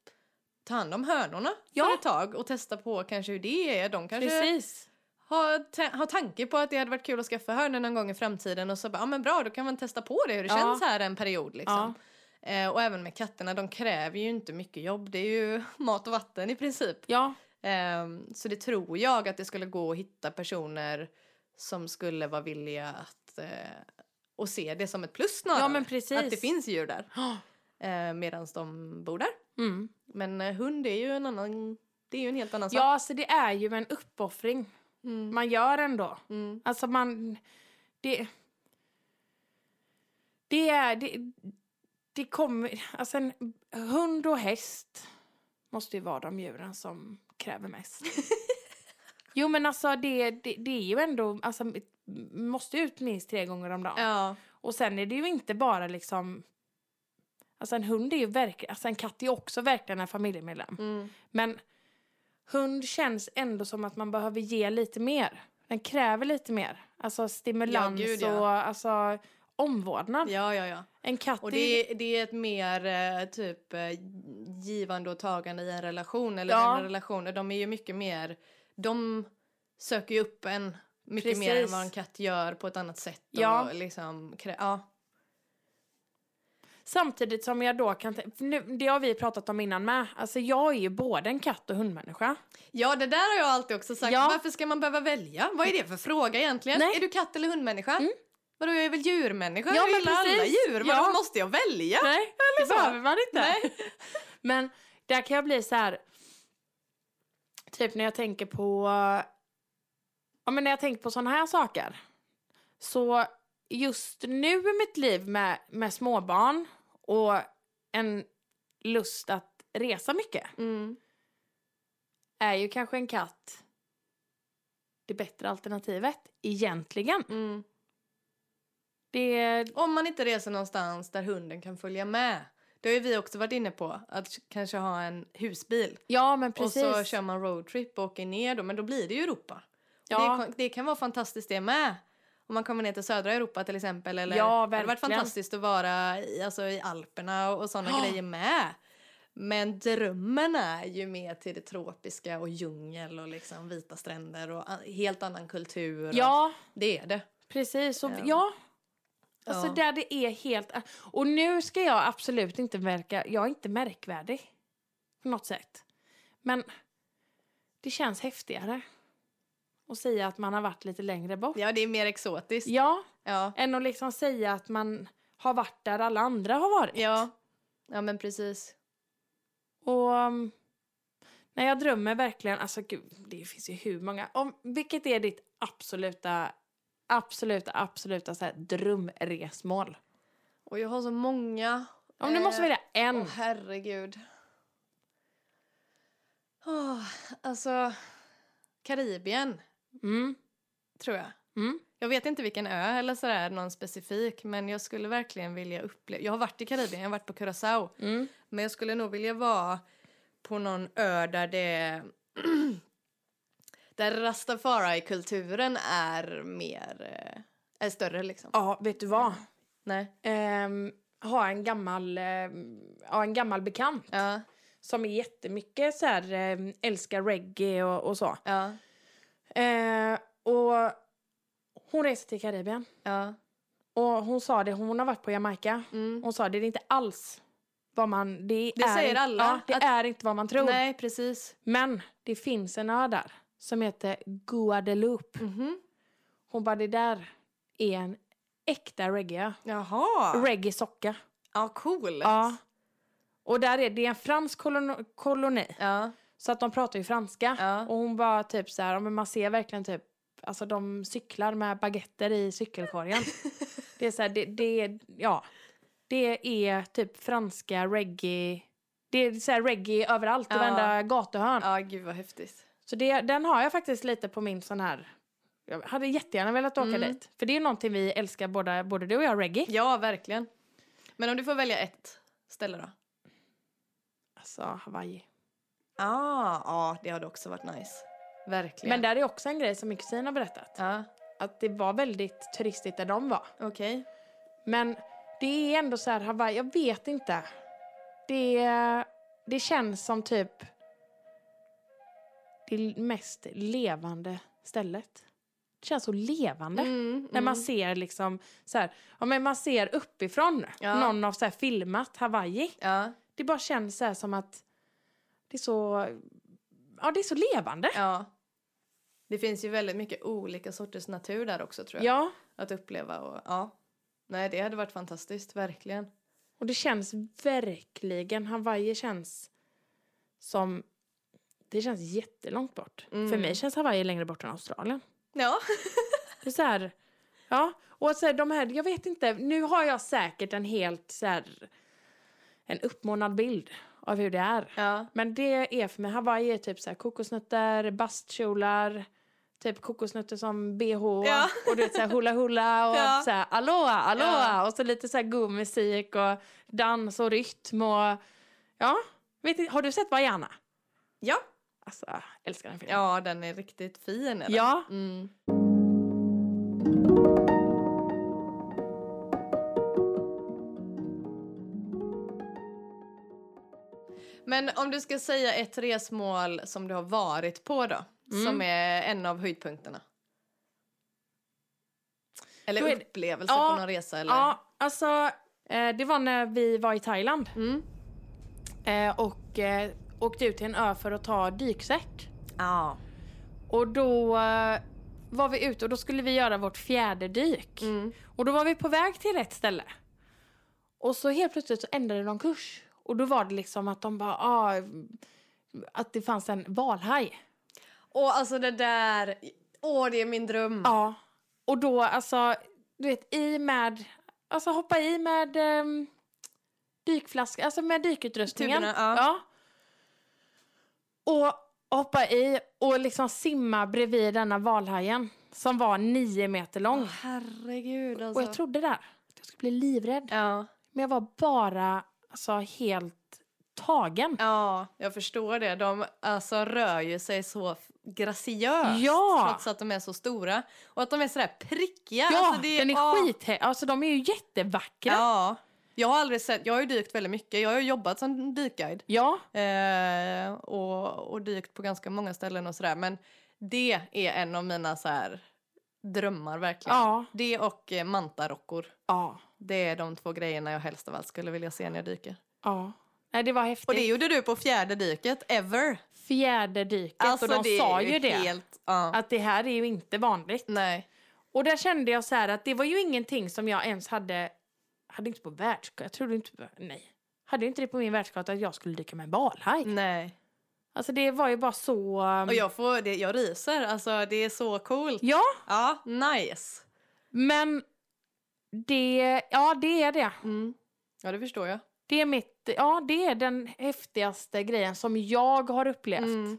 [SPEAKER 2] ta hand om hönorna för
[SPEAKER 1] Ja.
[SPEAKER 2] ett tag och testa på kanske hur det är. De kanske
[SPEAKER 1] precis.
[SPEAKER 2] har, ta- har tanke på att det hade varit kul att skaffa hönor någon gång i framtiden och så bara, ja men bra då kan man testa på det hur det
[SPEAKER 1] Ja.
[SPEAKER 2] känns här en period liksom. Eh, och även med katterna, de kräver ju inte mycket jobb, det är ju mat och vatten i princip.
[SPEAKER 1] Ja,
[SPEAKER 2] Ehm, så det tror jag att det skulle gå att hitta personer som skulle vara villiga att eh, och se det som ett plus snarare.
[SPEAKER 1] ja men precis.
[SPEAKER 2] Att det finns djur där
[SPEAKER 1] Ja.
[SPEAKER 2] eh, medan de bor där.
[SPEAKER 1] Mm.
[SPEAKER 2] Men eh, hund är ju en annan, det är ju en helt annan sak.
[SPEAKER 1] Ja, så det är ju en uppoffring
[SPEAKER 2] Mm.
[SPEAKER 1] man gör ändå.
[SPEAKER 2] Mm.
[SPEAKER 1] Alltså man... Det... Det är... Det, det kommer... Alltså en hund och häst måste ju vara de djuren som kräver mest. jo men alltså det, det, det är ju ändå... Alltså, måste ut minst tre gånger om dagen.
[SPEAKER 2] Ja.
[SPEAKER 1] Och sen är det ju inte bara liksom... Alltså en hund är ju verkligen... Alltså en katt är ju också verkligen en familjemedlem.
[SPEAKER 2] Mm.
[SPEAKER 1] Men hund känns ändå som att man behöver ge lite mer. Den kräver lite mer. Alltså stimulans
[SPEAKER 2] Ja, gud, ja.
[SPEAKER 1] och alltså, omvårdnad.
[SPEAKER 2] ja, ja, ja.
[SPEAKER 1] En katt
[SPEAKER 2] Och
[SPEAKER 1] är...
[SPEAKER 2] det, är- det är ett mer eh, typ eh, givande och tagande i en relation eller
[SPEAKER 1] Ja.
[SPEAKER 2] mellan relationer. De är ju mycket mer, de söker ju upp en mycket mer än
[SPEAKER 1] Precis.
[SPEAKER 2] vad en katt gör på ett annat sätt.
[SPEAKER 1] Ja.
[SPEAKER 2] Och liksom, krä- ja.
[SPEAKER 1] Samtidigt som jag då kan... tän- för Nu, det har vi pratat om innan med. Alltså jag är ju både en katt och hundmänniska.
[SPEAKER 2] ja, det där har jag alltid också sagt.
[SPEAKER 1] Ja.
[SPEAKER 2] Varför ska man behöva välja? Vad är det för fråga egentligen?
[SPEAKER 1] Nej. Mm.
[SPEAKER 2] Är du katt eller hundmänniska? Vadå, jag är väl djurmänniska?
[SPEAKER 1] Ja,
[SPEAKER 2] jag
[SPEAKER 1] men
[SPEAKER 2] gillar alla
[SPEAKER 1] precis.
[SPEAKER 2] djur. Vadå,
[SPEAKER 1] Ja.
[SPEAKER 2] måste jag välja?
[SPEAKER 1] Nej, det
[SPEAKER 2] så.
[SPEAKER 1] behöver man inte.
[SPEAKER 2] Nej.
[SPEAKER 1] Men där kan jag bli så här... Typ när jag tänker på... Ja, men när jag tänker på sådana här saker. Så just nu i mitt liv med, med småbarn och en lust att resa mycket
[SPEAKER 2] Mm.
[SPEAKER 1] är ju kanske en katt det bättre alternativet egentligen.
[SPEAKER 2] Mm.
[SPEAKER 1] Det,
[SPEAKER 2] Om man inte reser någonstans där hunden kan följa med. Det har ju vi också varit inne på, att kanske ha en husbil.
[SPEAKER 1] ja, men precis.
[SPEAKER 2] Och så kör man roadtrip och åker ner då, men då blir det ju Europa.
[SPEAKER 1] ja.
[SPEAKER 2] Det, kan- det kan vara fantastiskt det med. Om man kommer ner till södra Europa till exempel. Eller,
[SPEAKER 1] Ja,
[SPEAKER 2] Det hade varit
[SPEAKER 1] verkligen.
[SPEAKER 2] fantastiskt att vara i, alltså, i Alperna och, och sådana
[SPEAKER 1] Ja.
[SPEAKER 2] grejer med. Men drömmen är ju mer till det tropiska och djungel och liksom vita stränder och a- helt annan kultur. Och,
[SPEAKER 1] ja,
[SPEAKER 2] det är det.
[SPEAKER 1] Precis, och
[SPEAKER 2] Ja.
[SPEAKER 1] ja. Alltså
[SPEAKER 2] Ehm. Ja.
[SPEAKER 1] där det är helt... Och nu ska jag absolut inte verka... Jag är inte märkvärdig på något sätt. Men det känns häftigare att säga att man har varit lite längre bort. Ja,
[SPEAKER 2] Ja, det är mer exotiskt. Ja.
[SPEAKER 1] än att liksom säga att man har varit där alla andra har varit.
[SPEAKER 2] Ja. ja, men precis.
[SPEAKER 1] Och um, när jag drömmer verkligen, alltså gud, det finns ju hur många. Om, vilket är ditt absoluta, absoluta, absoluta så här, drömresmål?
[SPEAKER 2] Och jag har så många.
[SPEAKER 1] Om du måste
[SPEAKER 2] Eh,
[SPEAKER 1] välja en.
[SPEAKER 2] Åh, herregud. Åh, alltså, Karibien
[SPEAKER 1] Mm,
[SPEAKER 2] tror jag.
[SPEAKER 1] mm.
[SPEAKER 2] Jag vet inte vilken ö eller sådär, någon specifik, men jag skulle verkligen vilja uppleva... Jag har varit i Karibien, jag har varit på Curacao.
[SPEAKER 1] Mm.
[SPEAKER 2] Men jag skulle nog vilja vara på någon ö där det... där rastafari-kulturen är mer... eh, är större liksom.
[SPEAKER 1] Ja, vet du vad?
[SPEAKER 2] Nej.
[SPEAKER 1] Ehm, ha en gammal, ehm, ja, en gammal bekant
[SPEAKER 2] Ja,
[SPEAKER 1] som är jättemycket så här, ehm, älskar reggae och, och så.
[SPEAKER 2] ja,
[SPEAKER 1] Ehm, och hon reser till Karibien
[SPEAKER 2] ja.
[SPEAKER 1] och hon sa det, hon har varit på Jamaica.
[SPEAKER 2] Mm.
[SPEAKER 1] Hon sa det, det är inte alls vad man... Det,
[SPEAKER 2] Det
[SPEAKER 1] är
[SPEAKER 2] säger
[SPEAKER 1] inte,
[SPEAKER 2] alla,
[SPEAKER 1] Ja, det
[SPEAKER 2] att-
[SPEAKER 1] är inte vad man tror.
[SPEAKER 2] Nej, precis.
[SPEAKER 1] Men det finns en ö där som heter Guadeloupe.
[SPEAKER 2] Mhm.
[SPEAKER 1] Hon bara, det där är en äkta reggae
[SPEAKER 2] Jaha.
[SPEAKER 1] Reggae-socka.
[SPEAKER 2] ja, coolt.
[SPEAKER 1] Ja. Och där är det är en fransk kolon- koloni.
[SPEAKER 2] Ja.
[SPEAKER 1] Så att de pratar ju franska.
[SPEAKER 2] Ja.
[SPEAKER 1] Och hon bara typ så här, ja, men man ser verkligen typ, alltså de cyklar med baguetter i cykelkorgen. det är så här, det, det, ja. Det är typ franska reggae, det är så här reggae överallt i
[SPEAKER 2] Ja.
[SPEAKER 1] varenda gatuhörn.
[SPEAKER 2] ja, gud vad häftigt.
[SPEAKER 1] Så det, den har jag faktiskt lite på min sån här, jag hade jättegärna velat åka
[SPEAKER 2] Mm.
[SPEAKER 1] dit. För det är någonting vi älskar båda, både du och jag, reggae.
[SPEAKER 2] Ja, verkligen. Men om du får välja ett ställe då?
[SPEAKER 1] Alltså Hawaii.
[SPEAKER 2] Ah, ja, det hade också varit nice. Verkligen.
[SPEAKER 1] Men där är också en grej som min kusin har berättat.
[SPEAKER 2] Ja,
[SPEAKER 1] Att det var väldigt turistigt där de var.
[SPEAKER 2] okej.
[SPEAKER 1] Men det är ändå så här Hawaii, jag vet inte. Det, det känns som typ det mest levande stället. Det känns så levande.
[SPEAKER 2] Mm,
[SPEAKER 1] När
[SPEAKER 2] mm.
[SPEAKER 1] man ser liksom så här, ja men man ser uppifrån
[SPEAKER 2] Ja.
[SPEAKER 1] någon har så här filmat Hawaii.
[SPEAKER 2] Ja,
[SPEAKER 1] Det bara känns så här som att det är så, ja det är så levande.
[SPEAKER 2] ja. Det finns ju väldigt mycket olika sorters natur där också tror jag.
[SPEAKER 1] ja.
[SPEAKER 2] Att uppleva och ja. Nej, det hade varit fantastiskt, verkligen.
[SPEAKER 1] Och det känns verkligen, Hawaii känns som, det känns jättelångt bort.
[SPEAKER 2] Mm.
[SPEAKER 1] För mig känns Hawaii längre bort än Australien.
[SPEAKER 2] Ja.
[SPEAKER 1] Det är så här, ja. Och så här, de här, jag vet inte, nu har jag säkert en helt så här, en uppmålad bild av hur det är.
[SPEAKER 2] Ja.
[SPEAKER 1] Men det är för mig, Hawaii är typ så här kokosnötter, bastkjolar, typ kokosnötter som bh
[SPEAKER 2] Ja.
[SPEAKER 1] och du vet så här hula hula och
[SPEAKER 2] Ja.
[SPEAKER 1] så här aloha, aloha
[SPEAKER 2] Ja.
[SPEAKER 1] och så lite så här god musik och dans och rytm och ja, vet ni, har du sett Vaiana?
[SPEAKER 2] Ja.
[SPEAKER 1] Alltså, jag älskar den filmen.
[SPEAKER 2] Ja, den är riktigt fin. Eller?
[SPEAKER 1] Ja.
[SPEAKER 2] Mm. Men om du ska säga ett resmål som du har varit på då,
[SPEAKER 1] Mm.
[SPEAKER 2] som är en av höjdpunkterna. Eller
[SPEAKER 1] Då är det-
[SPEAKER 2] upplevelse
[SPEAKER 1] Ja,
[SPEAKER 2] på någon resa eller?
[SPEAKER 1] Ja, alltså eh, det var när vi var i Thailand
[SPEAKER 2] Mm.
[SPEAKER 1] eh, och eh, åkte ut till en ö för att ta dykcert.
[SPEAKER 2] Ja.
[SPEAKER 1] Och då eh, var vi ute och då skulle vi göra vårt fjärde dyk.
[SPEAKER 2] Mm.
[SPEAKER 1] Och då var vi på väg till rätt ställe. Och så helt plötsligt så ändrade de kurs. Och då var det liksom att de bara, ah, att det fanns en valhaj.
[SPEAKER 2] Och alltså det där, åh det är min dröm.
[SPEAKER 1] Ja. Och då alltså, du vet, i med, alltså hoppa i med um, dykflaska, alltså med dykutrustningen.
[SPEAKER 2] Tuberna, ja.
[SPEAKER 1] Och hoppa i och liksom simma bredvid denna valhajen som var nio meter lång.
[SPEAKER 2] Åh, herregud alltså.
[SPEAKER 1] Och jag trodde där att jag skulle bli livrädd.
[SPEAKER 2] Ja.
[SPEAKER 1] Men jag var bara alltså, helt tagen.
[SPEAKER 2] Ja, jag förstår det. De alltså, rör ju sig så f- graciöst
[SPEAKER 1] Ja.
[SPEAKER 2] trots att de är så stora. Och att de är sådär prickiga.
[SPEAKER 1] Ja,
[SPEAKER 2] alltså, det,
[SPEAKER 1] den är
[SPEAKER 2] ja.
[SPEAKER 1] skithä- Alltså de är ju jättevackra. Ja.
[SPEAKER 2] Ja. Jag har aldrig sett, jag har ju dykt väldigt mycket. Jag har ju jobbat som dykguide. Eh, och, och dykt på ganska många ställen och sådär. Men det är en av mina så här, drömmar verkligen.
[SPEAKER 1] Ja.
[SPEAKER 2] Det och eh, mantarockor.
[SPEAKER 1] Ja.
[SPEAKER 2] Det är de två grejerna jag helst av allt skulle vilja se när jag dyker.
[SPEAKER 1] ja. Nej, det var häftigt.
[SPEAKER 2] Och det gjorde du på fjärde dyket ever.
[SPEAKER 1] Fjärde dyket. och de
[SPEAKER 2] Alltså, är
[SPEAKER 1] sa ju, det.
[SPEAKER 2] Helt, ja.
[SPEAKER 1] Att det här är ju inte vanligt.
[SPEAKER 2] Nej.
[SPEAKER 1] Och där kände jag så här att det var ju ingenting som jag ens hade... Hade inte på världskartan. Jag trodde inte... Nej. Hade ju inte det på min världskarta att jag skulle dyka med en valhaj.
[SPEAKER 2] Nej.
[SPEAKER 1] Alltså det var ju bara så...
[SPEAKER 2] Mm.
[SPEAKER 1] um,
[SPEAKER 2] Och jag, får, det, jag ryser, alltså det är så coolt.
[SPEAKER 1] Ja.
[SPEAKER 2] Ja, nice.
[SPEAKER 1] Men det, ja det är det.
[SPEAKER 2] Mm. Ja, det förstår jag.
[SPEAKER 1] Det är, mitt, ja, det är den häftigaste grejen som jag har upplevt.
[SPEAKER 2] Mm.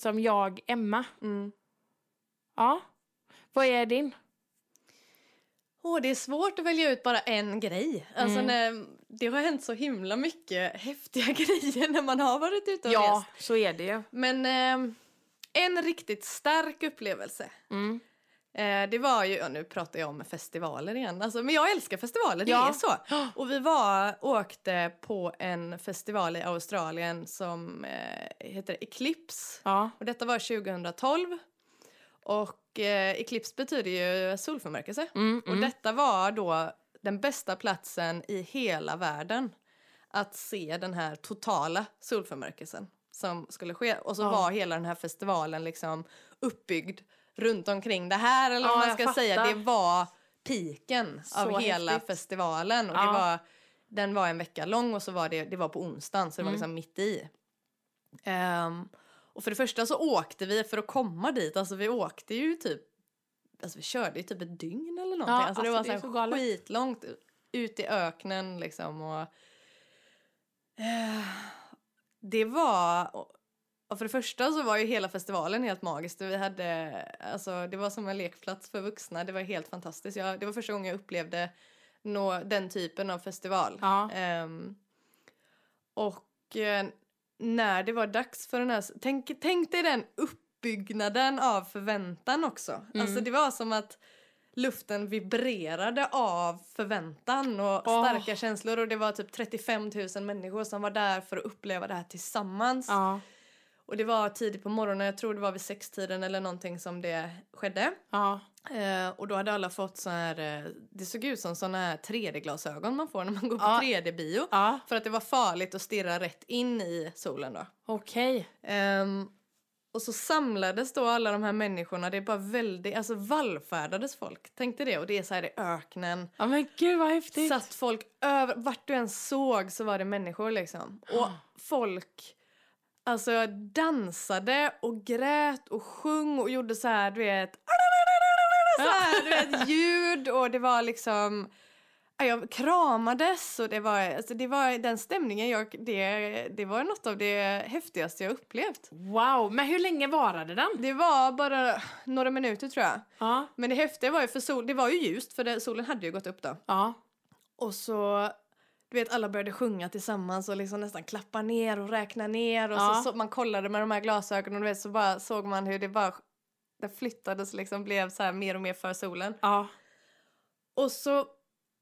[SPEAKER 1] Som jag, Emma.
[SPEAKER 2] Mm.
[SPEAKER 1] Ja. Vad är din?
[SPEAKER 2] Åh, det är svårt att välja ut bara en grej. Alltså,
[SPEAKER 1] Mm.
[SPEAKER 2] när, det har hänt så himla mycket häftiga grejer när man har varit ute och rest.
[SPEAKER 1] så är det ju.
[SPEAKER 2] Men ehm, en riktigt stark upplevelse
[SPEAKER 1] Mm.
[SPEAKER 2] Eh, det var ju, ja, nu pratar jag om festivaler igen, alltså, men jag älskar festivaler, det
[SPEAKER 1] Ja.
[SPEAKER 2] är så. Och vi var, åkte på en festival i Australien som eh, heter Eclipse.
[SPEAKER 1] Ja.
[SPEAKER 2] Och detta var 2012. Och eh, Eclipse betyder ju solförmörkelse.
[SPEAKER 1] Mm, mm.
[SPEAKER 2] Och detta var då den bästa platsen i hela världen att se den här totala solförmörkelsen som skulle ske. Och så
[SPEAKER 1] Ja.
[SPEAKER 2] var hela den här festivalen liksom uppbyggd runt omkring det här eller vad
[SPEAKER 1] Ja,
[SPEAKER 2] man
[SPEAKER 1] jag
[SPEAKER 2] ska säga.
[SPEAKER 1] fattar.
[SPEAKER 2] Det var piken
[SPEAKER 1] Så
[SPEAKER 2] av hela
[SPEAKER 1] häftigt.
[SPEAKER 2] festivalen och det
[SPEAKER 1] Ja.
[SPEAKER 2] var den var en vecka lång och så var det, det var på onsdagen så det var
[SPEAKER 1] Mm.
[SPEAKER 2] liksom mitt i. Ehm, och för det första så åkte vi för att komma dit, alltså vi åkte ju typ, alltså vi körde ju typ ett dygn eller någonting.
[SPEAKER 1] Ja,
[SPEAKER 2] alltså det
[SPEAKER 1] alltså
[SPEAKER 2] var
[SPEAKER 1] det är
[SPEAKER 2] så
[SPEAKER 1] så
[SPEAKER 2] här
[SPEAKER 1] galet.
[SPEAKER 2] skitlångt ut i öknen liksom och eh, det var, och- och för det första så var ju hela festivalen helt magisk. Vi hade, alltså det var som en lekplats för vuxna, det var helt fantastiskt. Jag, det var första gången jag upplevde nå, den typen av festival.
[SPEAKER 1] Ja.
[SPEAKER 2] Ehm, och eh, när det var dags för den här... Tänk, tänk dig den uppbyggnaden av förväntan också.
[SPEAKER 1] Mm.
[SPEAKER 2] Alltså det var som att luften vibrerade av förväntan och
[SPEAKER 1] Åh.
[SPEAKER 2] starka känslor. Och det var typ 35 000 människor som var där för att uppleva det här tillsammans.
[SPEAKER 1] Ja.
[SPEAKER 2] Och det var tidigt på morgonen, jag tror det var vid sextiden eller någonting som det skedde.
[SPEAKER 1] Ja.
[SPEAKER 2] Eh, och då hade alla fått så här, eh, det såg ut som såna här 3D-glasögon man får när man går på
[SPEAKER 1] Ja.
[SPEAKER 2] 3D-bio.
[SPEAKER 1] ja.
[SPEAKER 2] För att det var farligt att stirra rätt in i solen då.
[SPEAKER 1] Okej.
[SPEAKER 2] Ehm, och så samlades då alla de här människorna, det är bara väldigt, alltså vallfärdades folk. Tänkte det, och det är så här i öknen.
[SPEAKER 1] Ja men gud vad häftigt.
[SPEAKER 2] Satt folk över, vart du än såg så var det människor liksom. Och folk, alltså dansade och grät och sjung och gjorde så här, du vet, så här, du vet, ljud och det var liksom ja, jag kramades och det var, alltså det var den stämningen jag, det, det var något av det häftigaste jag upplevt.
[SPEAKER 1] Wow, men hur länge varade den?
[SPEAKER 2] Det var bara några minuter tror jag.
[SPEAKER 1] Ja.
[SPEAKER 2] Men det häftiga var ju för sol, det var ju ljust för det, solen hade ju gått upp då.
[SPEAKER 1] Ja.
[SPEAKER 2] Och så, du vet alla började sjunga tillsammans och liksom nästan klappa ner och räkna ner och så,
[SPEAKER 1] Ja.
[SPEAKER 2] så man kollade med de här glasögonen och du vet så bara såg man hur det bara det flyttades liksom blev så här mer och mer för solen.
[SPEAKER 1] Ja.
[SPEAKER 2] Och så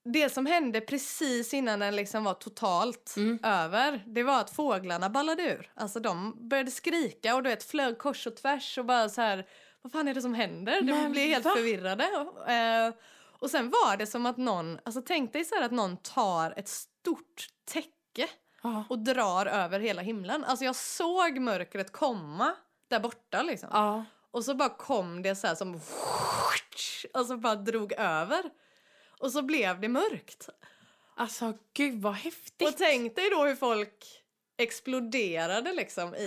[SPEAKER 2] det som hände precis innan den liksom var totalt
[SPEAKER 1] Mm.
[SPEAKER 2] över, det var att fåglarna ballade ur. Alltså de började skrika och du vet flög kors och tvärs och bara så här, vad fan är det som händer? De
[SPEAKER 1] Men
[SPEAKER 2] blev helt
[SPEAKER 1] va?
[SPEAKER 2] förvirrade. Och, eh, och sen var det som att någon, alltså tänk dig så här att någon tar ett stort täcke
[SPEAKER 1] Ja.
[SPEAKER 2] och drar över hela himlen. Alltså jag såg mörkret komma där borta liksom.
[SPEAKER 1] Ja.
[SPEAKER 2] Och så bara kom det så här som... Och så bara drog över. Och så blev det mörkt.
[SPEAKER 1] Alltså gud vad häftigt.
[SPEAKER 2] Och tänk dig då hur folk exploderade liksom i...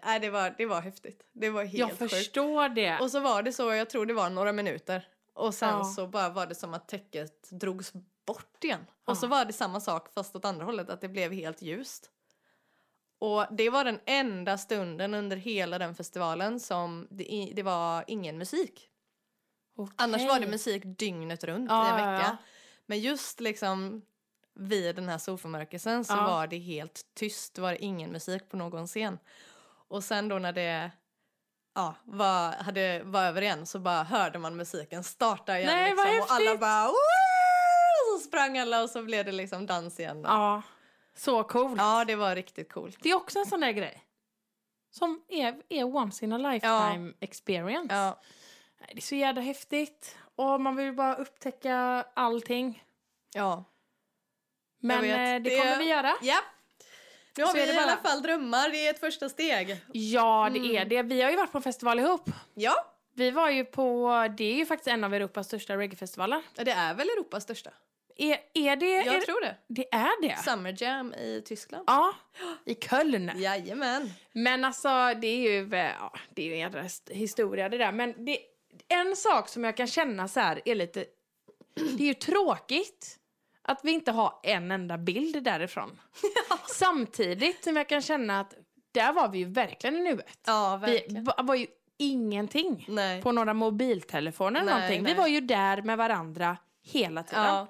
[SPEAKER 2] Nej, det var, det var häftigt. Det var helt
[SPEAKER 1] Jag
[SPEAKER 2] sjukt.
[SPEAKER 1] förstår det.
[SPEAKER 2] Och så var det så, jag tror det var några minuter. Och sen
[SPEAKER 1] Ja.
[SPEAKER 2] så bara var det som att täcket drogs bort igen. Och så
[SPEAKER 1] Ja.
[SPEAKER 2] var det samma sak fast åt andra hållet, att det blev helt ljust. Och det var den enda stunden under hela den festivalen som det, i- det var ingen musik.
[SPEAKER 1] Okej.
[SPEAKER 2] Annars var det musik dygnet runt
[SPEAKER 1] Ja,
[SPEAKER 2] i en
[SPEAKER 1] ja,
[SPEAKER 2] vecka.
[SPEAKER 1] ja.
[SPEAKER 2] Men just liksom vid den här solförmörkelsen så
[SPEAKER 1] Ja.
[SPEAKER 2] var det helt tyst. Det var ingen musik på någon scen. Och sen då när det ja, var, hade, var över igen så bara hörde man musiken starta igen.
[SPEAKER 1] Nej, vad
[SPEAKER 2] liksom, och alla
[SPEAKER 1] häftigt!
[SPEAKER 2] bara "Woo!" och så sprang alla och så blev det liksom dans igen. Ja,
[SPEAKER 1] Ja. Så coolt.
[SPEAKER 2] det var riktigt coolt.
[SPEAKER 1] Det är också en sån där grej. Som är, är once in a lifetime experience.
[SPEAKER 2] Ja,
[SPEAKER 1] Nej, Det är så jävla häftigt. Och man vill bara upptäcka allting.
[SPEAKER 2] ja.
[SPEAKER 1] Men
[SPEAKER 2] vet.
[SPEAKER 1] eh, det
[SPEAKER 2] Det-
[SPEAKER 1] kommer vi göra.
[SPEAKER 2] ja. Nu har
[SPEAKER 1] Så
[SPEAKER 2] vi
[SPEAKER 1] är det
[SPEAKER 2] i alla
[SPEAKER 1] bara.
[SPEAKER 2] fall drömmar, det är ett första steg.
[SPEAKER 1] Ja, det är det. Vi har ju varit på festival ihop.
[SPEAKER 2] Ja,
[SPEAKER 1] Vi var ju på, det är ju faktiskt en av Europas största reggaefestivaler.
[SPEAKER 2] det är väl Europas största.
[SPEAKER 1] Är, är det? är,
[SPEAKER 2] Jag tror det.
[SPEAKER 1] Det är det?
[SPEAKER 2] Summer Jam i Tyskland.
[SPEAKER 1] Ja, i Köln.
[SPEAKER 2] Jajamän.
[SPEAKER 1] Men alltså, det är ju, eh, ja, det är ju en jädra hist- historia det där. Men det, en sak som jag kan känna så här är lite, det är ju tråkigt att vi inte har en enda bild därifrån. Samtidigt som jag kan känna att där var vi ju verkligen i nuet.
[SPEAKER 2] Ja,
[SPEAKER 1] Vi
[SPEAKER 2] verkligen.
[SPEAKER 1] va- var ju ingenting
[SPEAKER 2] Nej.
[SPEAKER 1] på några mobiltelefoner eller
[SPEAKER 2] Nej,
[SPEAKER 1] någonting.
[SPEAKER 2] nej.
[SPEAKER 1] Vi var ju där med varandra hela tiden.
[SPEAKER 2] Ja.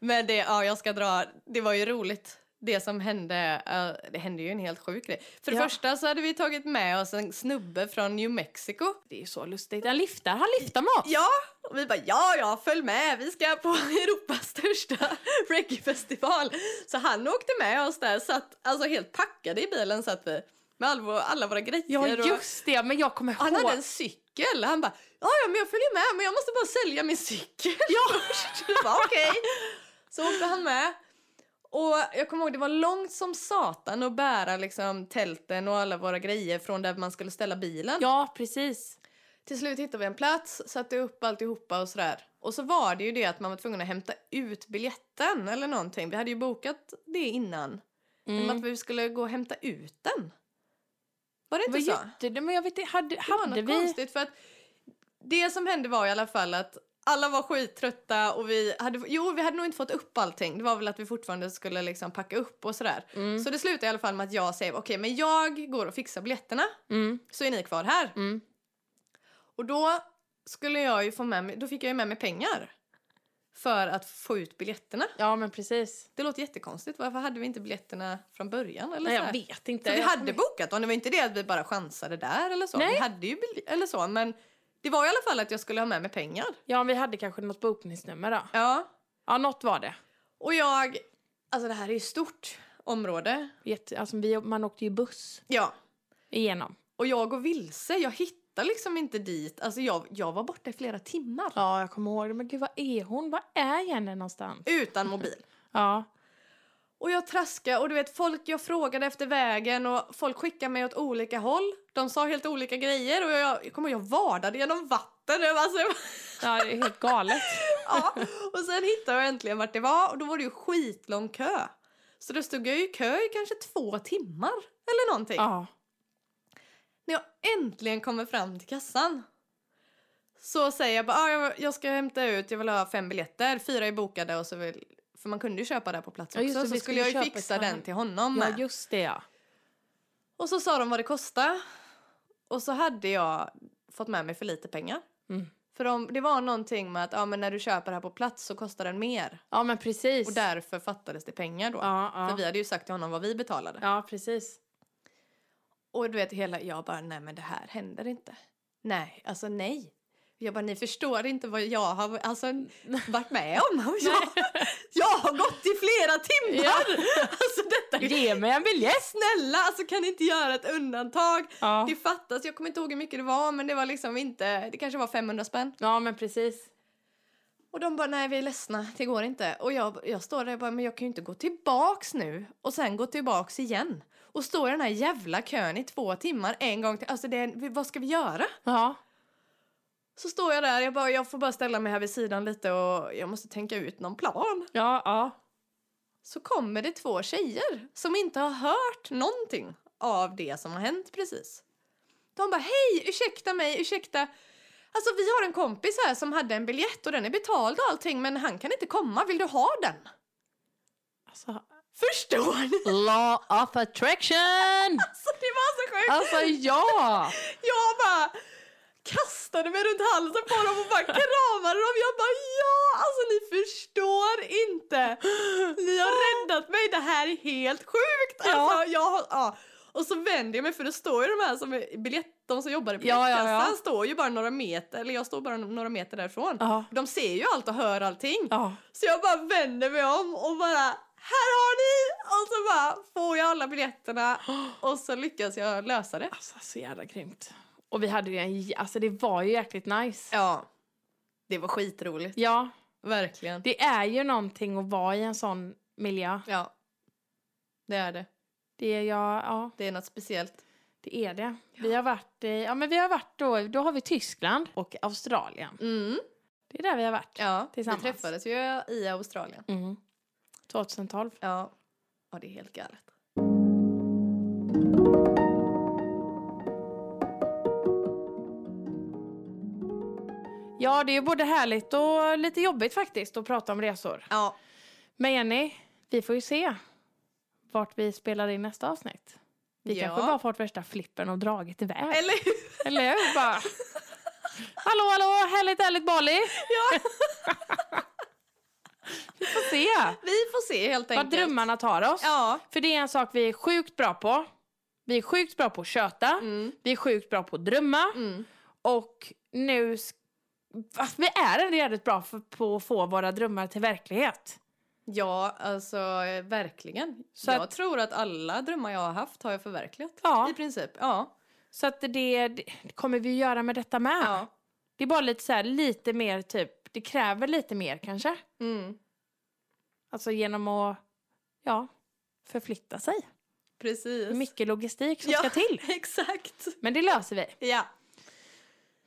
[SPEAKER 2] Men det, ja, jag ska dra, det var ju roligt. Det som hände, eh, det hände ju en helt sjuk grej. För det
[SPEAKER 1] Ja.
[SPEAKER 2] första så hade vi tagit med oss en snubbe från New Mexico.
[SPEAKER 1] Det är ju så lustigt. Han lyfter, han lyfter med oss.
[SPEAKER 2] Ja, och vi bara ja, ja, följ med, vi ska på Europas största reggaefestival. Så han åkte med oss där, satt, alltså helt packade i bilen satt vi. Med all vår, alla våra grejer.
[SPEAKER 1] Ja,
[SPEAKER 2] och-
[SPEAKER 1] just det. Men jag kommer ihåg.
[SPEAKER 2] Han hade en cykel. Han bara, ja, ja, men jag följer med, men jag måste bara sälja min cykel. Ja. Okej. Så åkte han med. Och jag kommer ihåg det var långt som satan att bära liksom tälten och alla våra grejer från där man skulle ställa bilen.
[SPEAKER 1] Ja, precis.
[SPEAKER 2] Till slut hittade vi en plats, satte upp alltihopa och sådär. Och så var det ju det att man var tvungen att hämta ut biljetten eller någonting. Vi hade ju bokat det innan. Men att
[SPEAKER 1] Mm.
[SPEAKER 2] vi skulle gå och hämta ut den. Var det
[SPEAKER 1] Det var
[SPEAKER 2] inte så?
[SPEAKER 1] jätte... Men jag vet inte, hade,
[SPEAKER 2] Det var
[SPEAKER 1] hade
[SPEAKER 2] något
[SPEAKER 1] vi...
[SPEAKER 2] konstigt för att det som hände var i alla fall att alla var skittrötta och vi hade, jo vi hade nog inte fått upp allting. Det var väl att vi fortfarande skulle liksom packa upp och sådär.
[SPEAKER 1] Mm.
[SPEAKER 2] Så det slutade i alla fall med att jag säger okej men jag går och fixar biljetterna
[SPEAKER 1] Mm.
[SPEAKER 2] så är ni kvar här.
[SPEAKER 1] Mm.
[SPEAKER 2] Och då skulle jag ju få med mig, då fick jag ju med mig pengar. För att få ut biljetterna.
[SPEAKER 1] Ja, men precis.
[SPEAKER 2] Det låter jättekonstigt. Varför hade vi inte biljetterna från början? Eller
[SPEAKER 1] Nej,
[SPEAKER 2] så
[SPEAKER 1] jag
[SPEAKER 2] här?
[SPEAKER 1] vet inte.
[SPEAKER 2] För vi
[SPEAKER 1] Jag
[SPEAKER 2] hade
[SPEAKER 1] kommer-
[SPEAKER 2] bokat dem, det var inte det att vi bara chansade där eller så.
[SPEAKER 1] Nej.
[SPEAKER 2] Vi hade ju bil- eller så, men det var i alla fall att jag skulle ha med mig pengar.
[SPEAKER 1] Ja, vi hade kanske något bokningsnummer då.
[SPEAKER 2] Ja.
[SPEAKER 1] Ja, något var det.
[SPEAKER 2] Och jag, alltså det här är ju stort område.
[SPEAKER 1] Jätte... Alltså, vi... Man åkte ju buss
[SPEAKER 2] Ja.
[SPEAKER 1] igenom.
[SPEAKER 2] Och jag går vilse, jag hittar liksom inte dit. Alltså jag, jag var borta i flera timmar.
[SPEAKER 1] Ja, jag kommer ihåg det. Men gud, var är hon? Var är Jenny någonstans?
[SPEAKER 2] Utan mobil.
[SPEAKER 1] Ja.
[SPEAKER 2] Och jag traskade och du vet folk, jag frågade efter vägen och folk skickade mig åt olika håll. De sa helt olika grejer och jag, jag kommer ihåg, jag vadade genom vatten. Jag bara, Alltså, jag bara,
[SPEAKER 1] ja, det är helt galet.
[SPEAKER 2] Ja, och sen hittade jag äntligen vart det var och då var det ju skitlång kö. Så då stod jag ju i kö i kanske två timmar eller någonting.
[SPEAKER 1] Ja.
[SPEAKER 2] När jag äntligen kommer fram till kassan så säger jag bara ah, jag- jag ska hämta ut, jag vill ha fem biljetter, fyra är bokade och så vill för man kunde ju köpa där på plats
[SPEAKER 1] Ja,
[SPEAKER 2] också.
[SPEAKER 1] just det,
[SPEAKER 2] så
[SPEAKER 1] vi
[SPEAKER 2] skulle jag ju
[SPEAKER 1] skulle köpa
[SPEAKER 2] fixa
[SPEAKER 1] ett
[SPEAKER 2] den
[SPEAKER 1] annat.
[SPEAKER 2] till honom
[SPEAKER 1] ja,
[SPEAKER 2] med.
[SPEAKER 1] just det ja.
[SPEAKER 2] Och så sa de vad det kostade. Och så hade jag fått med mig för lite pengar.
[SPEAKER 1] Mm.
[SPEAKER 2] För om, det var någonting med att ah, men när du köper här på plats så kostar den mer.
[SPEAKER 1] Ja, men precis.
[SPEAKER 2] Och därför fattades det pengar då.
[SPEAKER 1] Ja, ja.
[SPEAKER 2] För vi hade ju sagt till honom vad vi betalade.
[SPEAKER 1] ja, precis.
[SPEAKER 2] Och du vet hela, jag bara nej men det här händer inte. Nej, alltså nej. Jag bara ni förstår inte vad jag har alltså, varit med om. Och Jag, jag har gått i flera timmar! Alltså detta är
[SPEAKER 1] Ge mig en biljett!
[SPEAKER 2] Snälla, alltså kan ni inte göra ett undantag?
[SPEAKER 1] Ja,
[SPEAKER 2] Det fattas, jag kommer inte ihåg hur mycket det var men det var liksom inte, det kanske var 500 spänn.
[SPEAKER 1] ja men precis.
[SPEAKER 2] Och de bara, nej vi är ledsna, det går inte. Och jag, jag står där och bara, men jag kan ju inte gå tillbaks nu. Och sen gå tillbaks igen. Och stå i den här jävla kön i två timmar en gång till. Alltså det är, vad ska vi göra?
[SPEAKER 1] Ja.
[SPEAKER 2] Så står jag där, jag bara, jag får bara ställa mig här vid sidan lite och jag måste tänka ut någon plan.
[SPEAKER 1] Ja, ja.
[SPEAKER 2] Så kommer det två tjejer som inte har hört någonting av det som har hänt precis. De bara, hej, ursäkta mig, ursäkta. Alltså vi har en kompis här som hade en biljett och den är betald och allting men han kan inte komma, vill du ha den?
[SPEAKER 1] Alltså,
[SPEAKER 2] Förstår ni?
[SPEAKER 1] law of attraction!
[SPEAKER 2] Alltså det var så sjukt!
[SPEAKER 1] Alltså ja!
[SPEAKER 2] Jag bara kastade mig runt halsen på dem och bara kramade dem. Jag bara ja, alltså ni förstår inte. Ni har räddat mig, det här är helt sjukt. Alltså, jag, har- ja. Och så vänder jag mig för det står ju de här som är biljett, de som jobbar i
[SPEAKER 1] Ja, ja,
[SPEAKER 2] biljettkassan
[SPEAKER 1] ja.
[SPEAKER 2] står ju bara några meter, eller jag står bara några meter därifrån.
[SPEAKER 1] Ja.
[SPEAKER 2] De ser ju allt och hör allting.
[SPEAKER 1] Ja.
[SPEAKER 2] Så jag bara vänder mig om och bara här har ni! Och så bara får jag alla biljetterna och så lyckas jag lösa det.
[SPEAKER 1] Alltså så jävla grymt. Och vi hade ju en, j- alltså det var ju jäkligt nice.
[SPEAKER 2] Ja. Det var skitroligt.
[SPEAKER 1] Ja,
[SPEAKER 2] Verkligen.
[SPEAKER 1] det är ju någonting att vara i en sån miljö.
[SPEAKER 2] Ja. Det är det.
[SPEAKER 1] Det är jag, ja.
[SPEAKER 2] Det är något speciellt.
[SPEAKER 1] Det är det. Vi har varit, i- ja men vi har varit då, då har vi Tyskland och Australien.
[SPEAKER 2] Mm.
[SPEAKER 1] Det är där vi har varit.
[SPEAKER 2] Ja, vi
[SPEAKER 1] Tillsammans.
[SPEAKER 2] träffades ju i Australien.
[SPEAKER 1] Mm. 2012.
[SPEAKER 2] Ja. Ja, det är helt galet.
[SPEAKER 1] Ja, det är både härligt och lite jobbigt faktiskt att prata om resor.
[SPEAKER 2] Ja.
[SPEAKER 1] Men Jenny, vi får ju se vart vi spelar in nästa avsnitt. Vi
[SPEAKER 2] Ja.
[SPEAKER 1] kanske bara fått värsta flippen och dragit iväg. Eller,
[SPEAKER 2] Eller hur?
[SPEAKER 1] hur? Bara... Hallå, hallå, härligt, härligt Bali!
[SPEAKER 2] Ja.
[SPEAKER 1] Vi får se
[SPEAKER 2] Vi får se helt
[SPEAKER 1] vart
[SPEAKER 2] enkelt.
[SPEAKER 1] drömmarna tar oss.
[SPEAKER 2] Ja.
[SPEAKER 1] För det är en sak vi är sjukt bra på. Vi är sjukt bra på att köta.
[SPEAKER 2] Mm.
[SPEAKER 1] Vi är sjukt bra på att drömma.
[SPEAKER 2] Mm.
[SPEAKER 1] Och nu... sk- Fast Vi är ändå jävligt bra för, på att få våra drömmar till verklighet.
[SPEAKER 2] Ja, alltså eh, verkligen.
[SPEAKER 1] Så
[SPEAKER 2] jag
[SPEAKER 1] att-
[SPEAKER 2] tror att alla drömmar jag har haft har jag förverkligat.
[SPEAKER 1] Ja.
[SPEAKER 2] I princip. Ja.
[SPEAKER 1] Så att det, det kommer vi göra med detta med.
[SPEAKER 2] Ja.
[SPEAKER 1] Det är bara lite så här, lite mer typ, det kräver lite mer kanske.
[SPEAKER 2] Mm.
[SPEAKER 1] Alltså genom att, ja, förflytta sig.
[SPEAKER 2] Precis.
[SPEAKER 1] Det är mycket logistik som
[SPEAKER 2] Ja.
[SPEAKER 1] ska till.
[SPEAKER 2] Exakt.
[SPEAKER 1] Men det löser vi.
[SPEAKER 2] Ja.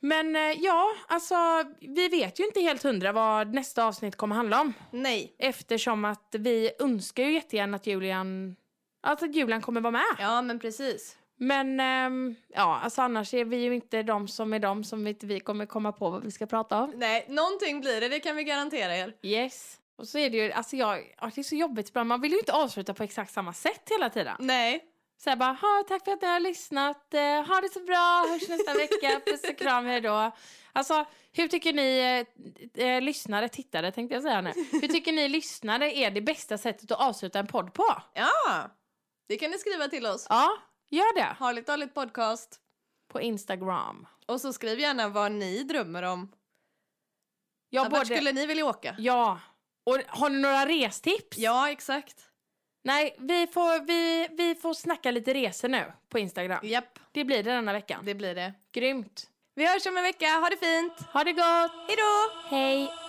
[SPEAKER 1] Men eh, ja, alltså vi vet ju inte helt hundra vad nästa avsnitt kommer handla om.
[SPEAKER 2] Nej.
[SPEAKER 1] Eftersom att vi önskar ju jättegärna att Julian, alltså att Julian kommer vara med.
[SPEAKER 2] Ja, men precis.
[SPEAKER 1] Men ehm, ja, alltså annars är vi ju inte de som är de som inte vi kommer komma på vad vi ska prata om.
[SPEAKER 2] Nej, någonting blir det, det kan vi garantera er.
[SPEAKER 1] Yes. Och så är det ju, alltså jag, ja, det är så jobbigt ibland. Man vill ju inte avsluta på exakt samma sätt hela tiden.
[SPEAKER 2] Nej.
[SPEAKER 1] Så jag bara, ha, tack för att ni har lyssnat. Eh, Ha det så bra, hörs nästa vecka. Puss och kram, hej då. Alltså, hur tycker ni eh, eh, lyssnare, tittare tänkte jag säga nu. Hur tycker ni lyssnare är det bästa sättet att avsluta en podd på?
[SPEAKER 2] Ja, det kan ni skriva till oss.
[SPEAKER 1] Ja, gör det.
[SPEAKER 2] Harligt Harligt podcast.
[SPEAKER 1] På Instagram.
[SPEAKER 2] Och så skriv gärna vad ni drömmer om.
[SPEAKER 1] Jag
[SPEAKER 2] Ja, Vart skulle ni vilja åka?
[SPEAKER 1] Ja. Och har ni några restips?
[SPEAKER 2] Ja, exakt.
[SPEAKER 1] Nej, vi får, vi, vi får snacka lite resor nu på Instagram.
[SPEAKER 2] Japp,
[SPEAKER 1] Det blir det denna veckan.
[SPEAKER 2] det blir det.
[SPEAKER 1] Grymt.
[SPEAKER 2] Vi hörs om en vecka, ha det fint!
[SPEAKER 1] Ha det gott!
[SPEAKER 2] Hejdå!
[SPEAKER 1] Hej!